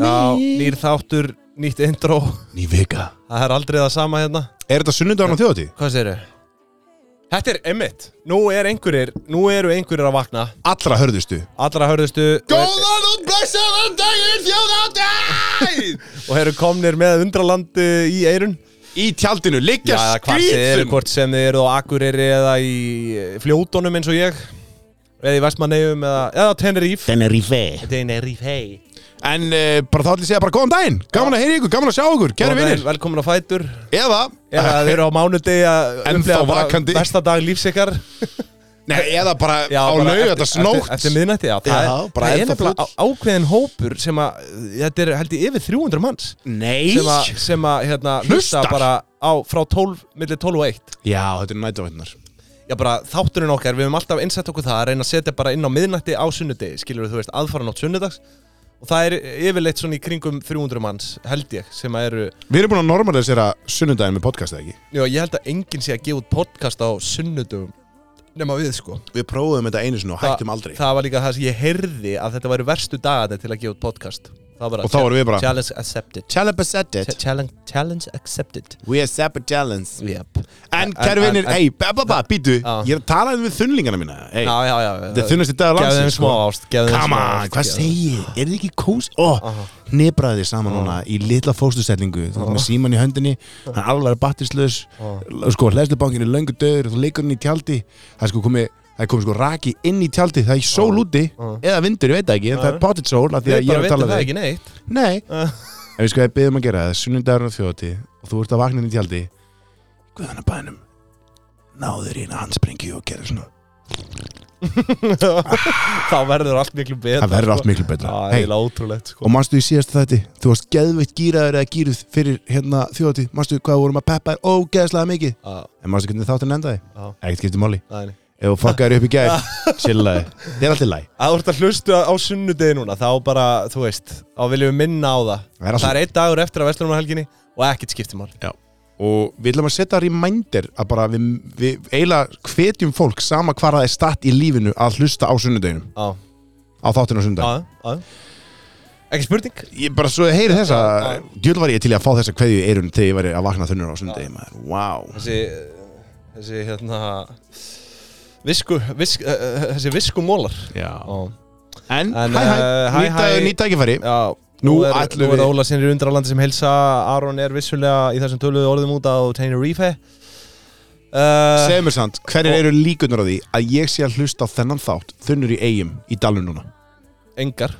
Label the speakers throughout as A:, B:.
A: Já, nýr þáttur, nýtt intro
B: Ný vika
A: Það er aldrei það sama hérna
B: Er þetta sunnudagan á þjóðatí?
A: Hvað segir þau? Þetta er emmitt Nú er einhverjir, nú eru einhverjir að vakna
B: Allra hörðustu
A: Allra hörðustu og,
B: Góðan og blessaðan daginn þjóðatí
A: og eru komnir með undralandi í eirun
B: Í tjaldinu,
A: Já,
B: liggja
A: eða hvað þið eru,
B: skrýtum
A: hvort sem þið eru á Akureyri eða í fljótonum eins og ég Eða í Vestmannegjum eða, eða Tenerife
C: Tenerife
A: Tenerife, hey
B: En uh, bara þá ætlum ég að segja bara góðan daginn Gaman að heyra ykkur, gaman að sjá ykkur, kæri vinir
A: Velkomin á Fætur
B: Eða
A: Eða þið eru á mánudegi að
B: Ennþá
A: upplifa bara
B: vakandi.
A: Besta dag lífs ykkar
B: Nei, eða bara
A: Já,
B: á
A: bara
B: lauga
A: eftir-
B: þetta snótt
A: eftir, eftir miðnætti, já,
B: Já,
A: það,
B: bara
A: er, það er
B: ennþá
A: nefnilega
B: full.
A: á- ákveðin hópur sem að, þetta er held ég yfir 300 manns
C: Nei
A: sem að, sem að hérna, hlusta
B: Hlustar.
A: bara á, frá 12, millir 12 og 1
B: Já, þetta er nætavæntunar
A: Já, bara þátturinn okkar, við höfum alltaf innsett okkur það að reyna að setja bara inn á miðnætti á sunnudegi skilur þú veist, aðfara nátt sunnudags og það er yfirleitt svona í kringum 300 manns held ég, sem að eru
B: Við erum búin að normalisera sunnudaginn með podcast, eða ekki?
A: já, ég held að enginn sé að gefa út podcast á sunnudum nema við sko
B: Við prófum þetta einu sinni og hættum
A: Þa-
B: aldrei
A: Það var líka það sem ég heyrði að þetta væru verstu dagarnir til að gefa út podcast Það var
B: Og þá vorum við bara-
A: Challenge accepted Ch-
B: Chalabasettet
A: Challenge, challenge accepted
B: We are separate challenge
A: Yep
B: En
A: En-
B: kæri
A: en-
B: vinnir,
A: en-
B: ei, bababa, býtu
A: Já.
B: Ég er að tala um við þunnlingana mína Ei,
A: Já, já, já
B: þetta er þunnast í dag
A: Gefðu þeim
B: landsins
A: smá
B: sko.
A: ást Gefðu þeim
B: Come
A: smá
B: on,
A: ást
B: hvað
A: gefðu-
B: segi ég? Er þetta ekki kós? Ó, nebraði þið saman núna í litla fóstustellingu Þú ert með síman í höndinni, hann er alveg battislaus Sko, hlæslubankin er löngu döður og þú leikur hann í tjaldi Það er sko komið, það er komið sko raki inn í tjaldi Það er sól úti, eða vindur, ég veit það ekki En það er potted sól, af því
A: Við
B: að ég er
A: bara
B: að
A: veitum
B: tala
A: það
B: við
A: ekki neitt
B: Nei En við sko við byggjum að gera það Sunnundarinn á þjóti Og þú ert að vakna inn í tjaldi Guðan að bænum Náður í eina handsprengju og gera svona
A: Þá verður allt miklu betra
B: Það verður allt miklu betra
A: Það er
B: Hey,
A: eiginlega ótrúlegt sko
B: Og manstu í síðasta þætti Þú varst geðveitt gýraður eða gýruð Fyrir hérna þjóti Manstu hvað við vorum að peppa þér Ógeðslega mikið
A: Já,
B: En manstu hvernig þáttan endaði
A: Já.
B: Ekkert skipti máli
A: það er-
B: Ef þú fuckar upp í gær Chillaði Það er alltaf læg
A: Að þú ert að hlustu á sunnudegi núna þá bara, þú veist, þá viljum við minna á það
B: Það er alltaf-
A: Það er einn dagur eftir að vestlunarhelginni og ekkert skiptir mál
B: Já Og við ætlum að setja reminder að bara við, við eiginlega hvetjum fólk sama hvar það er statt í lífinu að hlusta á sunnudeginum,
A: Já,
B: á þáttinu á sunnudag.
A: já, já Ekki spurning
B: Ég bara svo heyri þessa
A: Já, já.
B: Djöl var ég til í að fá þessa kveðju í eirun Þegar ég væri að vakna þunnur á sunnudegi maður Vá
A: þessi þessi hérna visku, visk, uh, þessi viskumólar
B: wow.
A: oh.
B: En, hæ
A: En,
B: hæ,
A: eh, hæ,
B: hæ, hæ.
A: hæ.
B: nýtt tækifæri
A: Já,
B: Nú
A: er,
B: ætlum
A: nú er
B: við-
A: Óla sinni undralandi sem helsa Aron er vissulega í þessum töluðu orðum út á Tenerife uh,
B: Segðu mér samt, hverjar eru líkunar á því Að ég sé að hlusta á þennan þátt Þunnur í eigum í dalnum núna
A: engar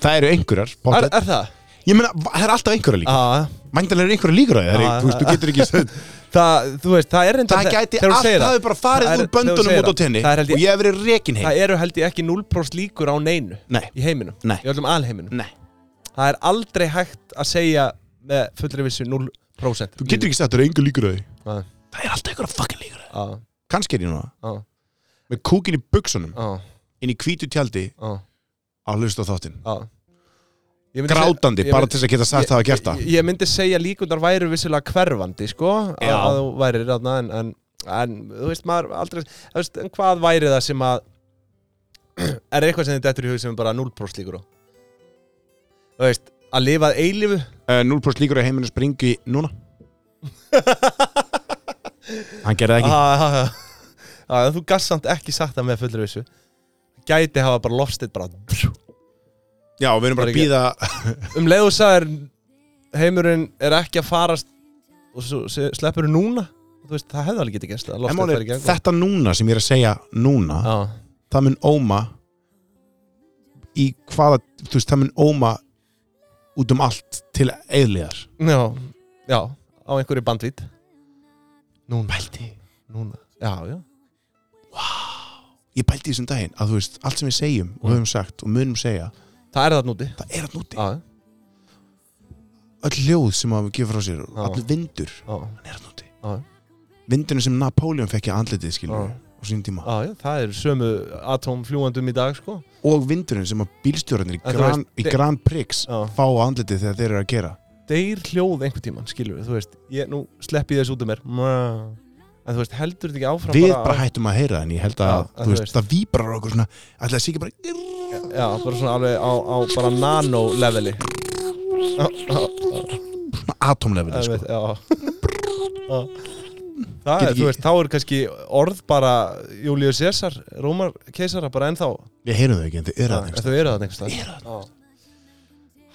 B: Það eru einhverjar
A: er,
B: pottet.
A: er það?
B: Ég meina, va- það er alltaf einhverjar líkur
A: Ah,
B: Mændalega eru einhverjar líkur á því það
A: Já,
B: er- Þú veist, þú getur ekki sagt-
A: það, þú veist, það er reyndar
B: Það
A: þe-
B: gæti
A: þegar þú
B: allt,
A: segir
B: það hefur bara farið
A: Það
B: úr
A: er- þegar þú
B: böndunum
A: segir
B: út á
A: það.
B: tenni
A: Það er
B: Og
A: held ég-
B: ég hef verið rekin heim
A: það eru held ég ekki 0% líkur á neinu
B: Nei,
A: í heiminum,
B: Nei.
A: í öllum alheiminum
B: nei
A: það er aldrei hægt að segja með fullri vissu 0%
B: Þú getur ekki sagt, það eru einhver líkur á því
A: Nei.
B: Það er alltaf einhverjar fucking líkur á því
A: ah,
B: Kannski er ég núna
A: ah,
B: Með kúkin í buksunum
A: ah,
B: inn í hvítu tjaldi
A: ah.
B: að hlusta á þáttinn
A: Já. Ég myndi
B: grátandi,
A: seg- ég
B: bara
A: myndi-
B: til þess að geta sagt það að gert það
A: Ég, ég myndi segja líkundar væru vissulega hverfandi, sko, að,
B: Já.
A: að þú væri ráðna, en, en, en, þú veist, maður aldrei, þú veist, en hvað væri það sem að, er eitthvað sem þið dettur í hug sem er bara 0% líkur á? Þú veist, að lifa að eilífu?
B: uh, 0% líkur að heiminu springi núna hann gerði það ekki
A: Ah, ah, ah. Ah, Þú gast samt ekki sagt það með fullur vissu. Gæti hafa bara lofstitt bara,
B: já, við erum bara að býða
A: um leið og sagðir heimurinn er ekki að farast og svo se- sleppurðu núna þú veist, það hefði alveg getið gæst að
B: En
A: loftið
B: málið
A: fer í
B: er,
A: gegn sko.
B: þetta núna sem ég er að segja núna,
A: Já,
B: það mun óma í hvaða þú veist, það mun óma út um allt til eðliðar
A: já, já, á einhverju bandvít Núna Bælti Núna, já, já
B: ég pælti í þessum daginn að þú veist, allt sem við segjum og höfum sagt og munum segja,
A: Það er það núti
B: það er að núti
A: Já,
B: öll hljóð sem að við gefur frá sér,
A: Já.
B: allir vindur
A: já,
B: hann er að núti
A: já,
B: vindurinn sem Napoleon fekk í andlitið skilur
A: Já.
B: á sínum tíma
A: já, já Það eru sömu atomfljúandum í dag, sko
B: og vindurinn sem að bílstjórarnir í,
A: En þú
B: gran,
A: veist,
B: í
A: þi-
B: Grand Prix
A: Já.
B: fá á andlitið þegar þeir eru að gera
A: Deyr hljóð einhvern tímann, skilur við Þú veist, ég, nú slepp ég þess út um mér Mwah. En þú veist, heldur þetta ekki áfram
B: við
A: bara
B: bara hættum að heyra en ég held að,
A: Já, að
B: þú
A: þú
B: veist,
A: veist.
B: það víbrar okkur svona ætla að sé ekki bara
A: Já, bara svona alveg á, á bara nano-leveli
B: atomlefinu sko.
A: Einmitt, Já Já. Það
B: Get
A: er,
B: ekki-
A: þú veist, þá er kannski orð bara Július César, Rómar keisara bara ennþá
B: við heyrum þau ekki en þau eru
A: Ef
B: aðeins
A: Þau eru það einhverstað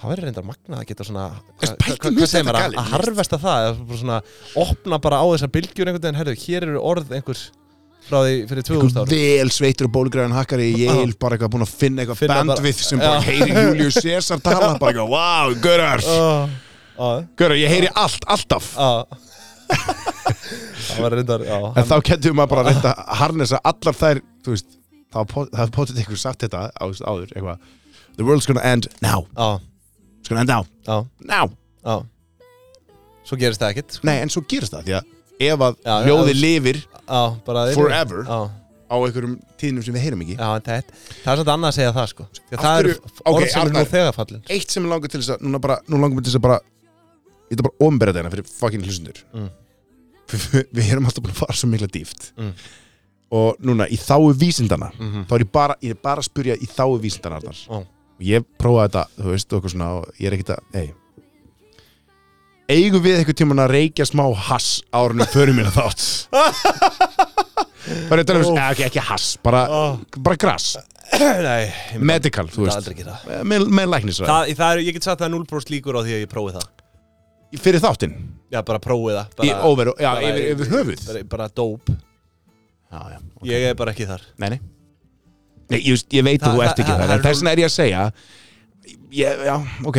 A: Það verður reyndar magnað að geta svona
B: Hvers-
A: hva-
B: pældi
A: hva-
B: mér
A: Hvað segir
B: þetta
A: maður að-
B: galið?
A: að harfesta það eða bara svona opna bara á þessar bylgjur einhvern veginn, herðu, hér eru orð einhvers frá því fyrir 2000 árum
B: vel sveittur og bólgræðan hakkari í Yale bara eitthvað búin að finna eitthvað
A: Finna bara-
B: bandvið sem bara
A: Já.
B: heyri Július César tala bara eitthvað, wow, görar
A: Ó, á,
B: görar, ég heyri allt, alltaf
A: á. Það var reyndar, já
B: en þá getum maður bara reynda að harnessa allar þær, þú veist þá po- það er potið eitthvað sagt þetta á, áður, eitthvað the world's gonna end now,
A: Já,
B: it's gonna end now
A: já,
B: now,
A: já Svo gerist það ekkert sko.
B: nei en svo gerist það því að ef að
A: Já,
B: ljóði
A: já,
B: lifir
A: Já, bara
B: Forever.
A: Já,
B: á einhverjum tíðnum sem við heyrum ekki
A: já en það, það er svolítið annað að segja það sko Þegar
B: Af
A: það eru
B: hverju-
A: orð
B: ok,
A: sem eru nú
B: Arnar.
A: þegar fallin
B: eitt sem ég langar til þess að núna bara, nú langar mér til þess að bara ég ætla bara að ofanbera þetta hérna fyrir fucking hlustundur
A: Mm.
B: við, við erum alltaf búin að fara svo mikla dýft
A: Mm.
B: og núna í þáu vísindana
A: Mhm.
B: þá er ég bara, ég er bara að spyrja í þáu vísindana Arnar.
A: Ó.
B: og ég prófaði þetta, þú veist, okkur svona og ég er ekkert að, ei eigum við eitthvað tíman að reykja smá hass árunum förum minna þátt bara ég tala um,
A: Óf.
B: oh. ekki, ekki hass bara,
A: Ó.
B: bara grass,
A: Nei, ég myndi
B: medical, þú
A: myndi
B: veist
A: aldrei gera það.
B: með, með læknisra,
A: Það, það er, ég get sagt það er 0% líkur á því að ég prófi það
B: fyrir þáttinn
A: Já, bara prófi það
B: Í
A: bara,
B: over, já,
A: bara-
B: yfir, yfir höfuð
A: bara, bara dóp
B: Já, já
A: Ég er bara ekki þar
B: Nei, nei Nei, ég, veist- ég veit
A: Það-
B: að þú ert
A: það-
B: ekki
A: það-
B: það
A: það er-
B: Þess vegna er ég að segja ég, Já, ok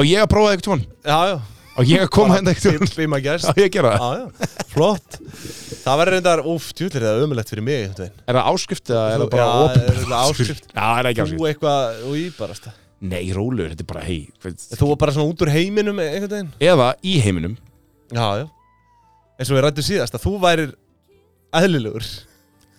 B: Og ég að prófa það eitthvað
A: Já, já
B: Og ég að koma hérna eitthvað
A: Be- Be my guest
B: Já, ég að gera það
A: Já, já, flott Það verður reyndar, úf, djúlir það ömulegt fyrir mig einhvern veginn
B: Er það áskrift eða er það bara
A: Já,
B: opinber
A: er það áskrift?
B: Já, er það ekki
A: Þú
B: áskrift
A: eitthvað, og ég bara stað
B: Nei, rólegur, þetta er bara hei hvað-
A: Þú var bara svona út úr heiminum einhvern veginn
B: Eða í heiminum
A: Já, já Eins og við rættum síðast að þú værir eðlilegur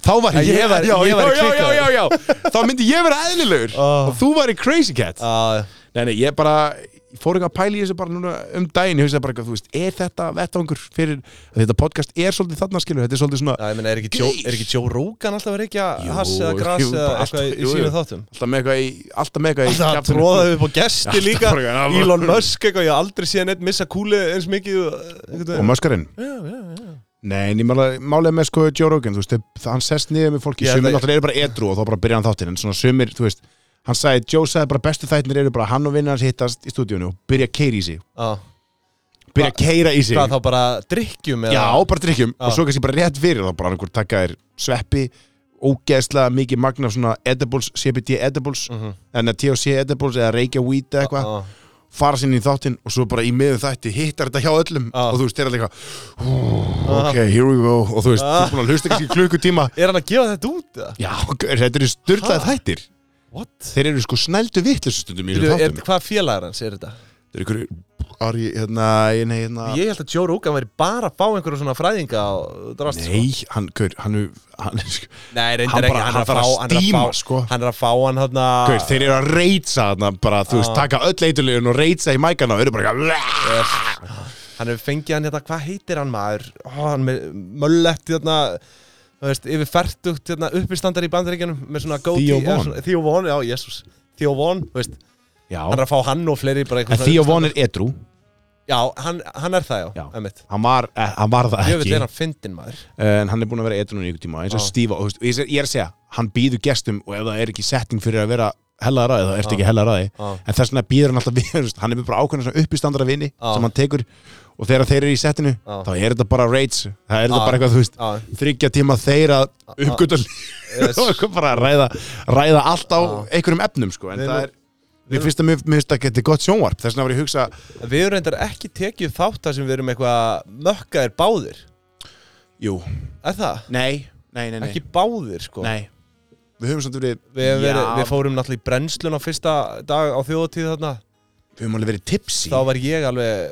B: Þá var
A: Ég var-
B: já,
A: ég var
B: já, já,
A: klikkaður.
B: já, já, já Þá myndi ég vera eðlilegur
A: Ah.
B: Og þú væri crazy cat
A: Já,
B: Nei, nei, ég bara ég fór eitthvað að pæla í þessu bara núna um daginn ég hugsaði bara eitthvað, þú veist, er þetta vettangur fyrir þetta podcast er svolítið þarna skilur þetta er svolítið svona,
A: já ég meina, er ekki, Joe,
B: Geir.
A: er ekki Joe Rogan alltaf að reykja
B: Jú,
A: hass eða gras
B: jú,
A: eða
B: bara
A: eitthvað
B: alltaf-
A: í
B: jú, jú.
A: sínu þáttum
B: alltaf með eitthvað í alltaf með eitthvað í sko.
A: Það
B: kjaftinum.
A: tróðaði upp á gesti
B: Alltaf
A: líka
B: bara eitthvað, já,
A: Elon
B: bara-
A: Musk eitthvað, ég hef aldrei séð neitt missa kúli eins mikið og, einhvern
B: og
A: veginn.
B: maskarinn
A: Já, já, já
B: Nei, en ég mála- málið með sko Joe Rogan, þú veist, það- hann sest niður með fólki
A: Ég
B: sumir
A: ætla-
B: náttúrulega eru bara edru og þá bara byrja hann þáttinn en svona sumir, þú veist, hann sagði Joe sagði bara bestu þættinir eru bara hann og vinnar hans hittast í stúdíunum og byrja að keira í sig
A: Já,
B: byrja að keira í sig
A: Ah, hvað þá bara drikkjum eða
B: Já, bara drikkjum
A: Já.
B: og svo kannski bara rétt fyrir þá bara einhver taka þér sveppi ógeðslega mikið magna svona edibles, CBD edibles mm
A: Mhm.
B: en að THC edibles eða reykja weed eða eitthvað
A: Já,
B: fara sinni í þáttinn og svo bara í miðum þætti hittar þetta hjá öllum
A: Já.
B: og þú veist, þeir allir eitthvað "Hú, ok, here we go og þú veist, þú er búin að hlusta kannski í klukkutíma
A: Er hann að gefa þetta út? eða?
B: Já, gaur, þetta eru styrlaði þættir
A: What?
B: Þeir eru sko snældu vittlisustundum í
A: Byrju,
B: þessum
A: er,
B: þáttum
A: hvað félagar hans er þetta?
B: Þeir eru ykkur, Ari, hérna, nei, hérna
A: Ég held að Joe Rogan væri bara að fá einhverju svona fræðinga og drast sko.
B: Nei, hann, gaur, hann, er- hann, er sko-
A: Nei,
B: Hann
A: reyndar ekki,
B: bara-
A: hann er
B: hann
A: að
B: þarf
A: fá,
B: að
A: hann er
B: stíma,
A: að fá,
B: sko.
A: hann er að fá hann hann að,
B: Gaur, þeir eru að reytsa þarna bara, þú veist, taka öll eitulegun og reytsa í mækana og eru bara eitthvað
A: hann hefur fengið hann hérna, hvað heitir hann maður, Ó, hann með möllett hérna, þú veist, yfir færtugt hérna, uppistandar í bandaríkjanum með svona góti,
B: Theo Von.
A: Theo Von, já, jésús, Theo Von, þú veist,
B: Já,
A: hann er að fá hann og fleiri bara
B: en
A: einhvern
B: því að von er edru
A: Já, hann, hann er það, já,
B: Já.
A: emitt.
B: hann var, eh, hann var það
A: Jöfnveld
B: ekki
A: er hann fyndin maður.
B: en hann Ah. er búin að vera edru núna í ykkur tíma eins og
A: Já.
B: stífa, og, þú veist, og ég sé- ég er að segja hann býður gestum og ef það er ekki setting fyrir að vera hella ræði, þá ertu ekki hella ræði
A: Já.
B: en þess vegna býður hann alltaf við, þú veist, hann er með bara ákveðna svona uppistandara vini
A: Já.
B: sem hann tekur og þegar þeir eru í settinu,
A: Já.
B: þá er þetta bara raids það er þetta
A: Já.
B: bara eitthvað, þú veist,
A: Já.
B: þryggja tíma þeir að uppgöta
A: Yes.
B: og eitthvað bara að ræða, ræða allt á einhverjum efnum sko, en
A: Við
B: það
A: erum-
B: er Mér finnst að mér mér finnst að geta gott sjónvarp Þess vegna var ég að hugsa
A: Við erum reyndar ekki tekið upp þátt þar sem við erum eitthvað mökkaðir báðir,
B: Jú,
A: er það?
B: nei, nei, nei, nei.
A: Ekki báðir, sko.
B: nei. Við höfum samt verið
A: Við, hefum verið,
B: Já,
A: við fórum náttúrulega í brennslun á fyrsta dag á þjóðatíð þarna
B: við höfum alveg verið tipsy
A: Þá var ég alveg,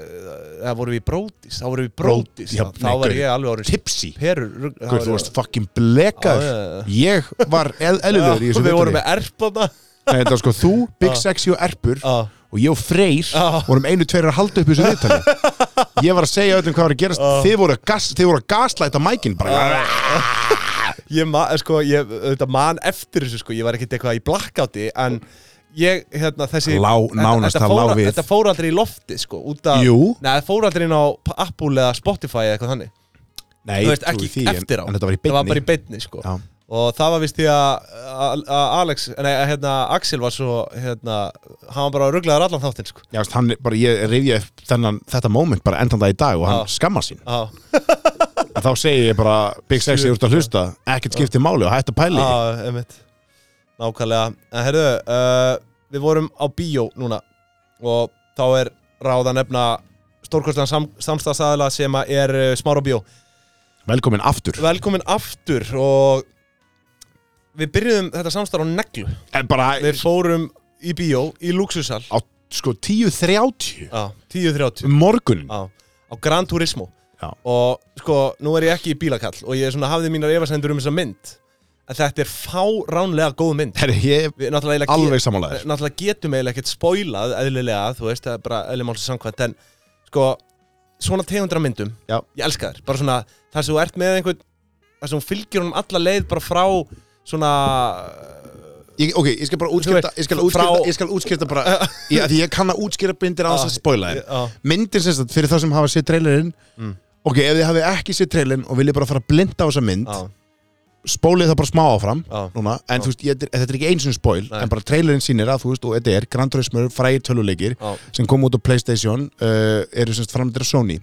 A: það vorum við í brótis, þá vorum við í brótis
B: Já,
A: Þá
B: nei,
A: var
B: gaur.
A: ég alveg orðin
B: Tipsy
A: perur rugl- þá
B: Guð,
A: var
B: þú
A: ég-
B: varst fucking blekar
A: Já, já, já.
B: Ég var eðlulegur í
A: Já,
B: þessu
A: Við
B: viðtali.
A: vorum með Ah. erfana
B: Nei, þetta var sko þú, Big Sexy og Erpur
A: Já.
B: og ég og Freyr
A: Já.
B: vorum einu tveir að halda upp í þessu viðtali
A: Ah.
B: Ég var að segja öllum hvað var að gerast Þið voru að, gas, þið voru að gaslæta mækin bara
A: ég, man, sko, ég auðvitað, man eftir þessu sko, ég var ekkert eitthvað í blackouti en ég, hérna, þessi
B: Lá, nánast,
A: þetta,
B: það lá
A: fór,
B: við.
A: þetta fór aldrei í lofti sko, út að,
B: Jú.
A: neða, það fór aldrei inn á Apple eða Spotify eða eitthvað þannig
B: Nei,
A: þú veist,
B: trúi
A: ekki
B: því, en-
A: eftir á,
B: En þetta var í
A: það var bara
B: beinni
A: í beinni sko.
B: Já.
A: og það var vist því að að- að Alex, nei, að, hérna, Axel var svo hérna, hann var bara rugglaður allan þáttinn sko.
B: Já, veist, hann, er bara, ég rifja upp þennan, þetta moment bara endan það í dag og hann
A: Já.
B: skammar sín
A: á,
B: að þá segi ég bara, Big Sexy, þú ert að hlusta ekkert skipti máli og hætt að pæli
A: á, einmitt nákvæmlega, en herðu uh, við vorum á bíó núna og þá er ráð að nefna stórkostlega sam, samstagsæðila sem að er uh, smára bíó
B: velkomin aftur
A: velkomin aftur og við byrjuðum þetta samstarf á neglu
B: en bara,
A: við fórum í bíó, í luxusal
B: á sko 10.30
A: á 10.30
B: um morgunin
A: á, á Gran Turismo
B: Já.
A: og sko, nú er ég ekki í bílakall og ég svona hafði mínar efasendur um þessa mynd en þetta er fáránlega góð mynd
B: Herri, ég er
A: við náttúrulega eiginlega
B: alveg samanlega
A: náttúrulega getum eiginlega ekkert spoilað eðlilega, þú veist, það er bara eðli málsins samkvæmt, en sko svona tegundra myndum,
B: Já.
A: ég elska þær bara svona, þar sem þú ert með einhvern þar sem hún fylgir honum alla leið bara frá svona,
B: ég, ok, ég skal bara útskipta
A: veist,
B: ég skal
A: frá-
B: útskipta, ég skal útskipta bara ég, því ég kann að útskipta bindir á þess að
A: Já. Mm.
B: spoila þeim
A: á,
B: myndir sem sagt, fyrir þá sem hafa séð trailerinn ok, ef þið hafið ekki séð trailerinn og viljið bara fara að blinda á þessa mynd
A: á,
B: spólið það bara smá áfram
A: á,
B: núna, en þú veist, ég, þetta er ekki eins og spoil
A: Nei.
B: en bara trailerinn sýnir að, þú veist, og þetta er Gran Turismo frægir töluleikir
A: á,
B: sem kom út á Playstation uh, eru semst framleitir af Sony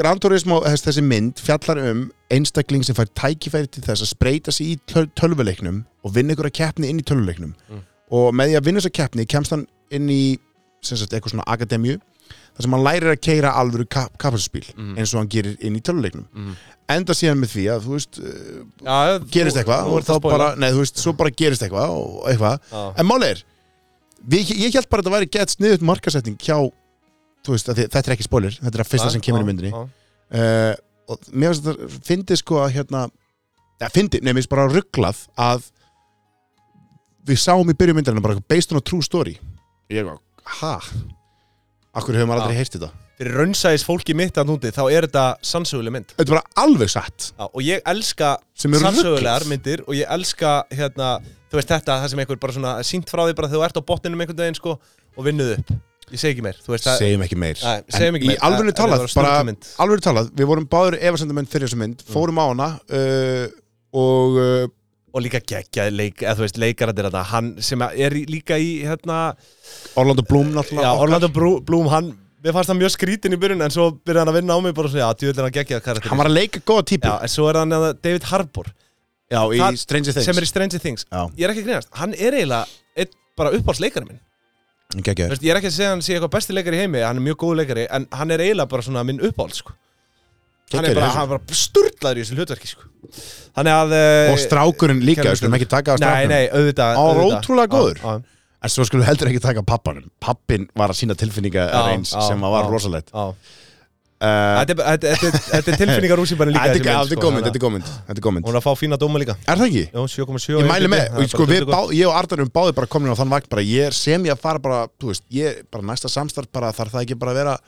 B: Gran Turismo, þess, þessi mynd fjallar um einstakling sem fær tækifæri til þess að spreita sig í töl tölvuleiknum og vinna ykkur að keppni inn í tölvuleiknum
A: Mm.
B: og með því að vinna þess að keppni kemst hann inn í sem sagt, eitthvað svona akademju þar sem hann lærir að keira alvöru kap kapasspíl
A: Mm.
B: eins og hann gerir inn í tölvuleiknum
A: Mm.
B: enda síðan með því að þú veist, uh,
A: já,
B: gerist eitthvað
A: þú
B: og
A: ert
B: þá
A: að spoila.
B: bara, nei þú veist, svo bara gerist eitthvað og eitthvað,
A: Já.
B: en máli er við, ég held bara að þetta væri gett sniðut markasetning hjá, þú veist, að þið, þetta er ekki spoiler, þetta er að fyrsta
A: Já,
B: sem kemur
A: já,
B: í myndinni
A: já.
B: uh, og mér finnst þetta, fyndi sko að hérna, eða fyndi, nei, mér finnst bara rugglað að við sáum í byrju myndarinn bara based on a true story ég var, ha akkur hefur maður
A: Já.
B: aldrei heyrt þetta
A: fyrir raunsæðis fólki mitt að núti þá er þetta sannsöguleg mynd
B: þetta er bara alveg satt
A: Já, og ég elska
B: sem er
A: sannsögulegar
B: rugglað
A: myndir og ég elska hérna, þú veist þetta, það sem einhver bara svona sínt frá því bara þegar þú ert á botninum einhvern daginn sko og vinnuð upp, ég segi ekki meir þú veist, það,
B: segjum ekki meir
A: Nei,
B: En
A: segjum ekki
B: í
A: meir.
B: alveg
A: En- en
B: talað
A: þetta var
B: bara,
A: snilldmynd.
B: alveg talað, við vorum báður efasendamenn fyrir þessu
A: Mm.
B: mynd, fórum á hana uh, og uh,
A: og líka geggjaði leik, eða þú veist, leikararnir þetta, hann sem er í- líka í hérna,
B: Orlando Bloom náttúrulega
A: já,
B: okkar.
A: Orlando Brú- Bloom hann, mér fannst hann mjög skrítin í byrjun en svo byrjaði hann að vinna á mig bara svona, já, djúvel er hann geggjaði karakter
B: hann var að leika góða típu
A: já, en svo er hann hérna David Harbour
B: já, í
A: það-
B: Stranger Things
A: sem er í Stranger Things,
B: já,
A: ég er ekki að greinast hann er eiginlega einn bara uppáhaldsleikarinn minn Þú
B: geggjör
A: veist, ég er ekki að segja að hann sé eitthvað besti leikari í heimi hann er mjög góð leikari, en hann er eiginlega bara svona minn uppáhald, sko hann
B: Geggjaður
A: er
B: í
A: bara,
B: þessu.
A: hann er bara sturlaður í þessu hlutverki, sko þannig að eh,
B: og strákurinn líka,
A: Kevin
B: við skulum ekki taka að
A: nei,
B: strákurinn
A: nei,
B: Hann
A: auðvitað
B: var
A: auðvitað.
B: ótrúlega
A: Já,
B: góður.
A: já,
B: en svo skulum við heldur ekki taka pappanum pappin var að sína tilfinninga reyns
A: já,
B: sem að var
A: já.
B: rosalegt
A: já.
B: Uh,
A: Þetta er- þetta er- þetta er- þetta er tilfinningar úsýbærin líka
B: þetta er-
A: þessi mynd,
B: þetta er
A: sko,
B: gómynd,
A: þannig
B: þetta er gómynd, þetta er gómynd
A: að- hún er að fá fína dóma líka
B: er það ekki?
A: Jó, 7,7
B: ég
A: í
B: mæli
A: beinni,
B: með,
A: það er
B: og sko
A: bara
B: við
A: dullu
B: bá, ég og Arnar erum báði bara komin á þann vakt bara ég sem ég að fara bara, þú veist ég bara næsta samstarf bara þarf það ekki bara að vera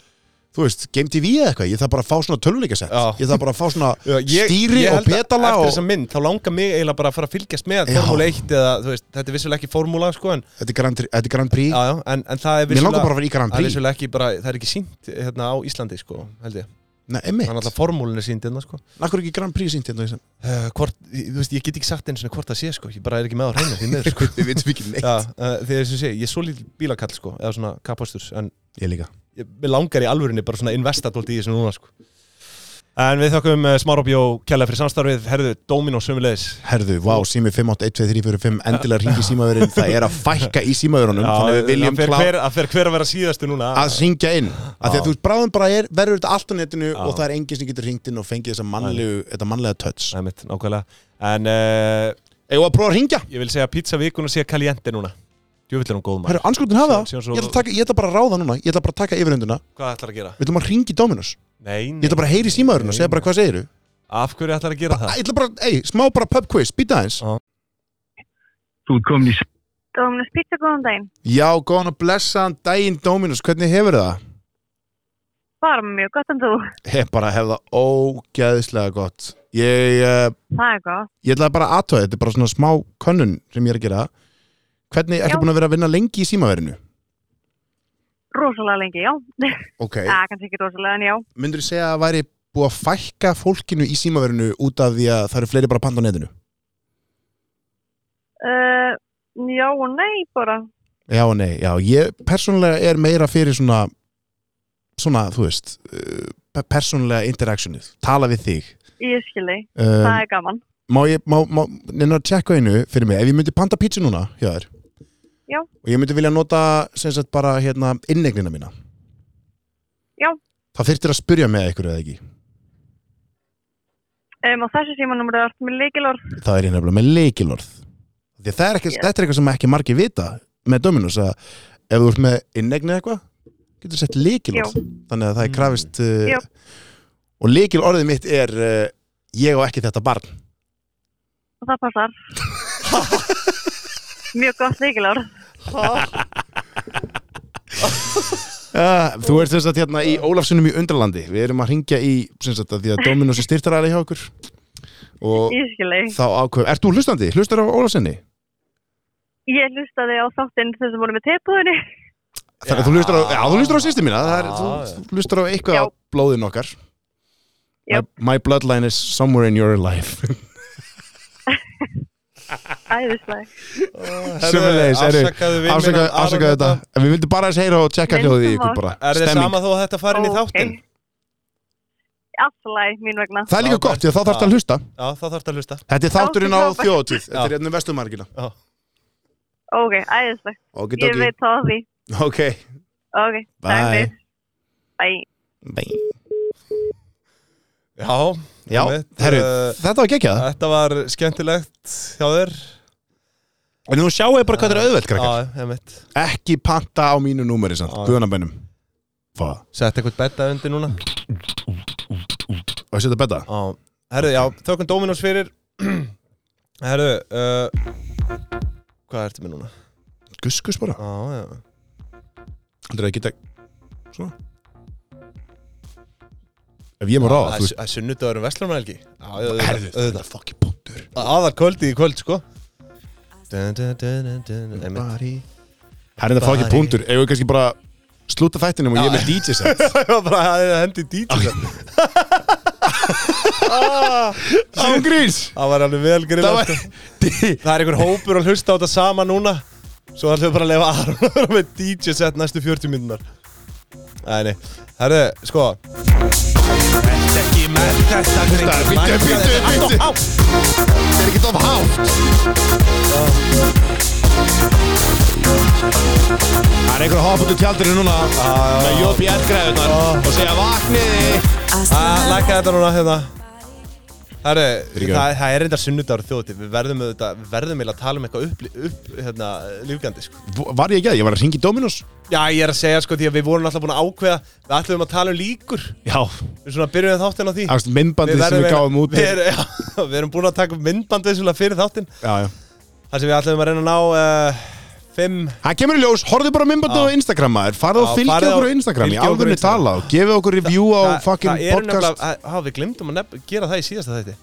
B: þú veist, Game TV eða eitthvað, ég þarf bara að fá svona töluleikasett,
A: Já.
B: ég þarf bara að fá svona
A: Já, ég-
B: stýri
A: ég held
B: og
A: að
B: petala
A: eftir
B: og
A: þessa mynd, þá langar mig eiginlega bara að fara að fylgjast með
B: Já.
A: Formule 1 eða, þú veist, þetta er vissulega ekki formúla sko, en,
B: þetta er Grand, þetta er Grand Prix
A: já, já, en, en það er
B: mér langar
A: vissulega
B: bara að vera í Grand
A: það er
B: Prix
A: vissulega ekki bara, það er ekki sínt hérna á Íslandi, sko, held ég
B: Nei,
A: Það er
B: emmitt,
A: alltaf formúlinni sínd hérna, sko
B: nakkur ekki Grand Prix sínt hérna í sem-
A: uh, hvort, Þú veist, ég get ekki sagt eins og hvort það sé, sko Ég bara er ekki með á hreinu, því miður, sko
B: við veitum ekki neitt
A: Já, uh, Þegar þess að segja, ég er svo lítil bílakall, sko Eða svona kapasturs, en
B: ég líka,
A: ég mig langar í alvörinni bara svona investa tólt í þessu núna, sko En við þökkum uh, Smárabjó Kjalla fyrir samstarfið, herðu, Dómin og sömulegis
B: herðu, vá, sími 5812345 endilega ringi símaverinn, það er að fækka í símaverunum, Um, þannig að við viljum
A: fer
B: klá-
A: hver, að fer hver að vera síðastu núna
B: að syngja inn af því að
A: Já.
B: þú veist, bráðum bara er, verður þetta allt á netinu
A: Já.
B: og það er enginn sem getur ringt inn og fengið þessa mannlegu, þetta mannlega touch
A: Nei, mitt, nákvæmlega En uh,
B: Eða að prófa að ringja
A: ég vil segja pizza vikuna sé Kaliente núna Djöfull er hún góð maður
B: Herru, anskotin hafa það
A: Síðan- síðan svo-
B: ég ætla, að taka, ég ætla bara að ráða núna, ég ætla bara að taka yfirhunduna
A: Hvað ætlar að gera?
B: Við ætlum að ringi í Dominus
A: Nei,
B: Ég
A: nei.
B: ætla bara að heyri símaðurinn og segja bara hvað segiru
A: Af hverju ætlar að gera það?
B: Ég ætla bara, ei, smá bara pub quiz, býta aðeins
A: Já.
C: Þú ert komin í s-
D: Dóminus Pizza, góðan daginn.
B: Já, góðan og blessaðan daginn Dominus, hvernig hefur það?
D: bara mjög gott en þú.
B: Ég bara hef það ógæðislega gott. Ég, uh,
D: Það er gott.
B: ég ætlaði bara aðtöða, þetta er bara svona smá könnun sem ég er að gera. Hvernig ertu
D: Já.
B: búin að vera að vinna lengi í símaverinu?
D: Rosalega lengi, já.
B: Ok,
D: Það er kannski ekki rosalega, en já.
B: myndur þú segja að væri búið að fækka fólkinu í símaverinu út af því að það eru fleiri bara að panta á netinu?
D: Uh, já og nei bara.
B: Já, og nei, já, ég persónulega er meira fyrir svona svona, þú veist uh, pe- persónulega interactionið, tala við þig
D: Ég skilji. Það
B: um,
D: er gaman.
B: má ég, má, má, neina að tjekka einu fyrir mig, ef ég myndi panta pítsu núna hjá þér
D: Já.
B: og ég myndi vilja nota sem sagt bara, hérna, innegnina mína
D: Já.
B: Það þyrftir að spyrja með ykkur eða ekki
D: Um, og þessu símanúmer er allt með leikilorð.
B: það er ég nefnilega með leikilorð því að það er ekki,
D: Já.
B: þetta er eitthvað sem ekki margir vita með Dominus að ef þú ert með innegni eitthvað getur sett leikilorð þannig að það er krafist
D: Já.
B: uh, og leikilorðið mitt er uh, ég á ekki þetta barn
D: Og það passar. mjög gott leikilorð.
B: uh, þú ert þess að hérna í Ólafsunum í Undralandi við erum að ringja í sem sagt að því að Dominus er styrtaræli hjá okkur og
D: Ég skilji.
B: þá ákveð, ert þú hlustandi? hlustar á Ólafsunni?
D: Ég hlustaði á þáttinn þau sem voru með teipúðinni.
B: Þannig að
A: Já.
B: þú hlustar á, já, þú hlustar á sýstu mína, það er,
A: Já, já.
B: þú, þú hlustar á eitthvað
D: Já.
B: á blóðin okkar.
D: Já.
B: My, my bloodline is somewhere in your life.
D: Æðislega.
B: Sjöfnleis,
A: herru,
B: herru,
A: afsakaðu hérna. við
B: afsakaðu, afsakaðu þetta. En við vildum bara að segja og tjekka
D: Nei,
B: hljóðið í
D: það
B: ykkur
D: var-
B: bara.
A: Er þið
B: Stemming.
A: sama þó að þetta fari inn í þáttinn?
D: Alltaf læg mín vegna.
B: Það er líka
A: Já,
B: gott, því að þá þarf
A: já.
B: þetta að hlusta.
A: Já, þá þarf þetta að hlusta
B: Þetta er þátturinn á
D: Já, já.
B: þjóðatíð, þetta
A: Já.
B: er hérna vestumarkina.
A: Já.
D: Ok, æðislega.
B: Ok,
D: Ég
B: doki.
D: veit þá af því.
B: Ok,
D: Ok, takk
B: bye.
D: fyrir. Bye.
B: Bye.
A: Já,
B: Já,
A: einmitt,
B: herru,
A: eh,
B: þetta var geggjað.
A: Þetta var skemmtilegt hjá þér
B: En nú sjáu ég bara hvað þetta
A: uh,
B: er auðvelt, krakkar.
A: Já, ég mitt
B: Ekki panta á mínu númeri, sant?
A: Já.
B: Guðanabænum. Fá.
A: Sett eitthvað betta undir núna
B: Og setja betta.
A: Já, herru, já, tökum Dominos fyrir Herru, uh, hvað ertu með núna?
B: Guskus bara.
A: Já, já
B: Heldur það að geta Svona Ef ég má ráða, þú veist
A: Það er sunnudagurum Vestlumælgi Já, já,
B: Herðu,
A: auðvitað,
B: þetta
A: auðvitað
B: er fucking punktur
A: Aðal kvöldi í kvöld, sko Dun, dun, dun, dun, dun, einmitt.
B: Það er þetta fucking
A: Bari.
B: punktur Ef við kannski bara slúta þættinum og ég er með DJ set
A: Það var bara að hendi DJ
B: Ángríns
A: Það var alveg vel
B: Það
A: grilla
B: var
A: sko. Það er einhver hópur að hlusta á þetta sama núna Svo ætlum við bara að lefa Aron að vera með DJ set næstu 40 minnunar Æ, nei Herðu, sko
B: Þetta, bíddu, bíddu, bíddu. Þetta er ekki of hátt Það er einhver að hoppa út úr tjaldinu núna Ah. með Jópi Elgræðunar og segja vakniði
A: að lækka þetta núna hérna Herru,
B: Fyrirgefðu.
A: það, það er reyndar sunnudagur þjóti Við verðum auðvitað, við verðum eiginlega að tala um eitthvað upp, upp hérna, lífgandi sko.
B: Var ég ekki að? Ég var að ringi Dominos
A: Já, ég er að segja sko því að við vorum alltaf búin að ákveða Við ætlum að tala um líkur
B: Já,
A: Við svona byrjum við þáttinn á því
B: Ást, myndbandið sem við
A: verðum-
B: gáum út
A: við, er, já, við erum búin að taka upp myndband vissulega fyrir þáttinn
B: já, já.
A: Þar sem við ætlum að reyna að ná uh, Fimm
B: Það kemur í ljós, horfðu bara á myndbandið á Instagram maður Farðu
A: Já,
B: og fylgja
A: farið á-
B: okkur á Instagram Í
A: fylgið okkur á
B: alvegni
A: Instagram.
B: tala og gefið okkur review á
A: Þa-
B: fucking
A: eru
B: podcast
A: nefnilega- að- á, Við glemdum að nefn, gera það í síðasta þætti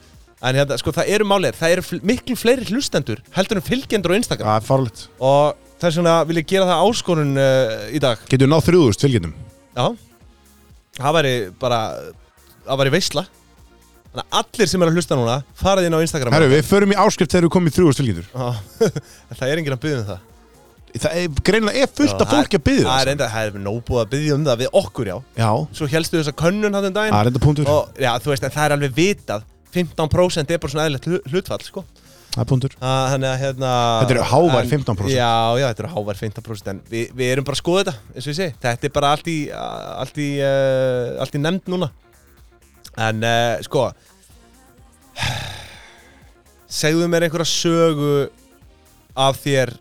A: En hérna, sko, það eru málið, það eru fl miklu fleiri hlustendur heldur en fylgjendur á Instagram
B: Það er farlegt
A: og þess vegna vil ég gera það áskorun uh, í dag
B: Getur við náð þrjúðust fylgjendum
A: já það væri bara það væri veisla þannig að allir sem er að hlusta núna farað inn á Instagram
B: Herru, við förum í áskrift þegar við komum í þrjúðust fylgjendur
A: Já, en það er enginn að byggja um það
B: Það er greinilega er fullt
A: Já,
B: af fólki að um byggja
A: það
B: það
A: er enda, það er nóbúið að byggja um það við okkur já
B: Já,
A: svo helstu þessa könnun hann um daginn
B: það er enda punktur
A: og, já, þú veist, en það er alveg vitað 15% er bara svona eðlilegt hlu- hlutfall sko.
B: Það er punktur
A: Að, þannig að hérna
B: Þetta eru hávær
A: en-
B: 15%.
A: já, já, þetta eru hávær 15% en við, við erum bara að skoða þetta, eins og ég segi þetta er bara allt í, allt í, uh, allt í nefnd núna en uh, sko segðu mér einhverja sögu af þér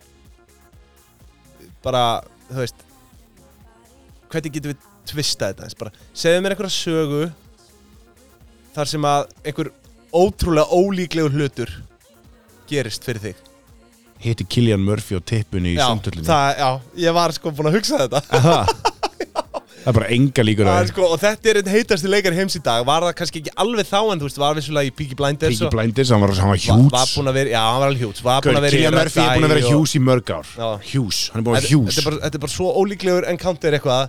A: bara, þú veist hvernig getum við tvista þetta eins bara, segðu mér einhverja sögu þar sem að einhver ótrúlega ólíklegur hlutur gerist fyrir þig
B: Hitti Killian Murphy og tippun í
A: já,
B: sundhöllinni
A: það, já, ég var sko búinn að hugsa þetta
B: Það það er bara enga líkur á
A: Það er
B: því
A: sko, og þetta er einn heitasti leikar heims í dag Var það kannski ekki alveg þá en þú veist Var vissulega í Peaky Blinders
B: Piggy
A: og-
B: Blinders, hann var, hann var
A: var, var
B: hjúts
A: búin að vera, já, hann var alveg hjúts Var búin að vera í
B: Kilja Murphy er búin að vera
A: Red Eye og-
B: hjús í mörg ár
A: Já.
B: Hjús, hann er búin að vera
A: Þetta-
B: hjús
A: Þetta er bara- þetta er bara svo ólíklegur encounter eitthvað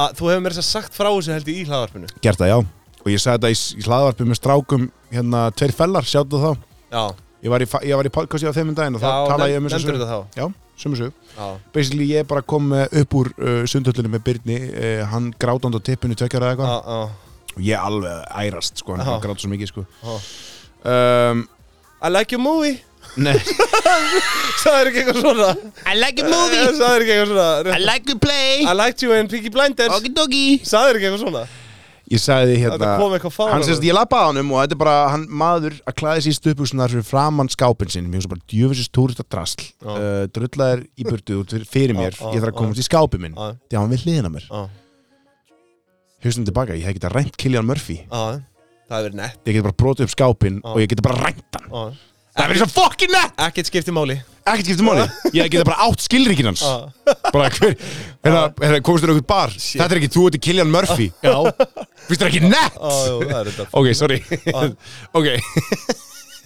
A: að þú hefur mér þess að sagt frá þessu held ég í hlaðvarpinu
B: Gert það, já Og ég sagði þetta í, í hlaðvarpi með strákum Hérna, tveir fellar, sjáttu þá
A: Já,
B: Ég var í, fa- ég var í podcasti á þeim um daginn Og þá
A: Já,
B: talaði ég
A: nefn-
B: um þessu sögu.
A: nefndirðu þetta
B: Já, sömu sög
A: já,
B: Basically, ég bara kom eh, upp úr uh, sundhöllinu með Byrni uh, Hann grátandi á tippinu tvekkjara eða
A: já,
B: eitthvað
A: já
B: Og ég alveg ærast, sko, hann
A: Já.
B: ah. grátt svo mikið, sko
A: Já.
B: um,
A: I like your movie
B: Nei
A: Sæður ekki eitthvað svona
B: I like a
A: Sæður ekki eitthvað svona
B: like a play
A: I liked you in Peaky Blinders
B: dokie
A: Sæður ekki eitthvað svona
B: Ég sagði hérna
A: Þetta kom eitthvað fáránlegt.
B: Hann sérst ég lappaði á honum og þetta er bara hann, maður að klæða sér í stöpugsunar fyrir framann skápinn sinn Mér finnst bara djöfisins túrist að drasl uh, Drullaðir í burtu út fyrir- fyrir mér
A: Já, já,
B: Ég þarf
A: já.
B: að komast í skápinn minn
A: Já.
B: Því að hann vil hliðina mér
A: Já,
B: Hustum tilbaka, ég hef getað rænt Killian Murphy
A: já, það hefur verið nett
B: Ég geti bara brotið upp skápinn og ég geti bara rænt hann
A: já.
B: Það er eins og fokkin nett
A: Ekkert skipti máli
B: Ekkert skiptir máli Ég geti bara átt skilríkin hans
A: Já.
B: Bara hver Hérna, hérna, komist þér á einhvern bar Þetta er ekki, þú ert Killian Murphy Já Finnst þér ekki nett
A: Já, ah, jú, það er þetta
B: Ok, sorry Ok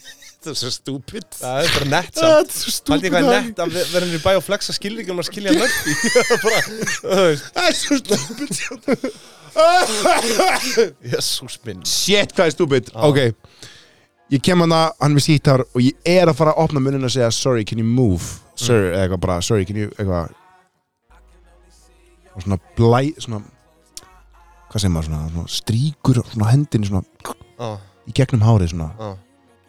B: Þetta er svo stúpid
A: Það er bara nett
B: Þetta er svo
A: samt Haldi
B: stúpid
A: ég hvað er nett að vera henni í bæ og flexa skilvíkjum að skilja mörg Bara, þú veist
B: Það er svo stúpid
A: Jésús minn
B: Shit, hvað er stúpid Ah. Ok Ég kem hana, hann er með sítar og ég er að fara að opna munnin og segja Sorry, can you move? Sir, eða eitthvað bara, sorry, can you, eitthvað Og svona blæ, svona Hvað segir maður svona, svona Stríkur svona hendinni svona
A: Já,
B: Í gegnum hárið svona
A: já,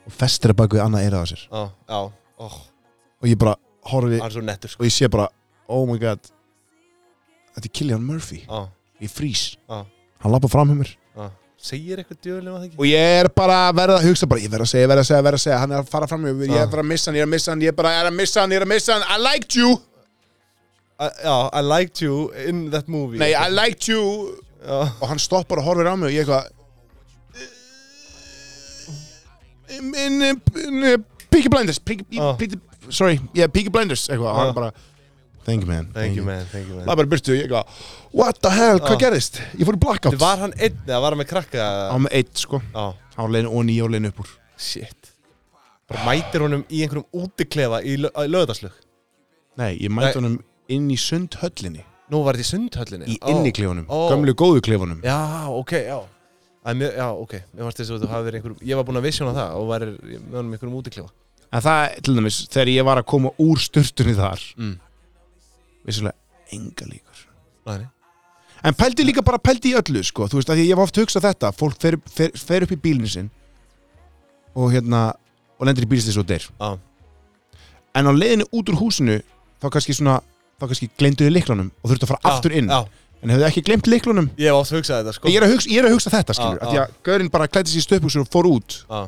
B: Og festir að baka við annað eirað á sér
A: já, ah, já Ó,
B: Og ég bara horfi
A: það er svo nettur sko
B: og ég sé bara oh my god þetta er Killian Murphy
A: Já,
B: ég frýs
A: Já.
B: hann lappa fram hjá mér
A: já ah. Segir eitthvað djöðlega það ekki?
B: og ég er bara að verða að hugsa bara ég verð að segja, verð að segja, verð að segja hann er að fara fram hjá mér ég
A: Já.
B: er að fara að missa hann, ég er að missa hann ég er bara er að missa hann, ég er að missa hann I liked you
A: I- Já, I liked you in that movie
B: nei, I liked you
A: Já,
B: og hann stoppar og horfir á mig og ég eitthvað "Eh, minni eh, Peaky Blinders Peaky,
A: Já.
B: Peaky, sorry, yeah, Peaky Blinders eitthvað, og
A: Já.
B: hann bara thank you man
A: Ah. thank you man, thank you man
B: Það bara byrtu, ég eitthvað, what the hell, hvað
A: Já.
B: gerðist? Ég fór í blackout.
A: Þið var hann einn eða var hann með krakka?
B: Á með eitt, sko.
A: Já,
B: Hann var leiðin onni í og leiðin upp úr.
A: shit Bara mætir honum í einhverjum útiklefa í löðarslug
B: Nei, ég
A: Nei.
B: mætti honum inn í sundhöllinni.
A: Nú var þetta í sundhöllinni
B: Í
A: Ó,
B: inniklefunum.
A: ó.
B: Gömlu góðu klefunum.
A: Já, ok, já Æ, mjö, Já, ok, mér varst þess að þú hafi verið einhverjum Ég var búinn að visjóna það og var með honum í einhverjum útiklefa
B: En það, til dæmis, þegar ég var að koma úr sturtunni þar,
A: Mm.
B: vissulega, enga líkur.
A: Næni
B: En pældi líka bara pældi í öllu, sko. Þú veist, að ég var oft að hugsa þetta. Fólk fer, fer, fer upp í bílinu sinn og hérna, og lendir í bílislis og deyr.
A: Já,
B: En á leiðinu út úr húsinu, þá kannski svona, þá kannski glemduðu liklunum og þurftu að fara
A: Já,
B: aftur inn.
A: Já,
B: En hefðu ekki glemt liklunum
A: ég hef oft hugsað þetta, sko
B: ég er, að hugsa, ég er að hugsa þetta skilur
A: Já,
B: ah, Því
A: já.
B: að Gaurinn bara klætti sér í stöpbúksur og fór út
A: Já,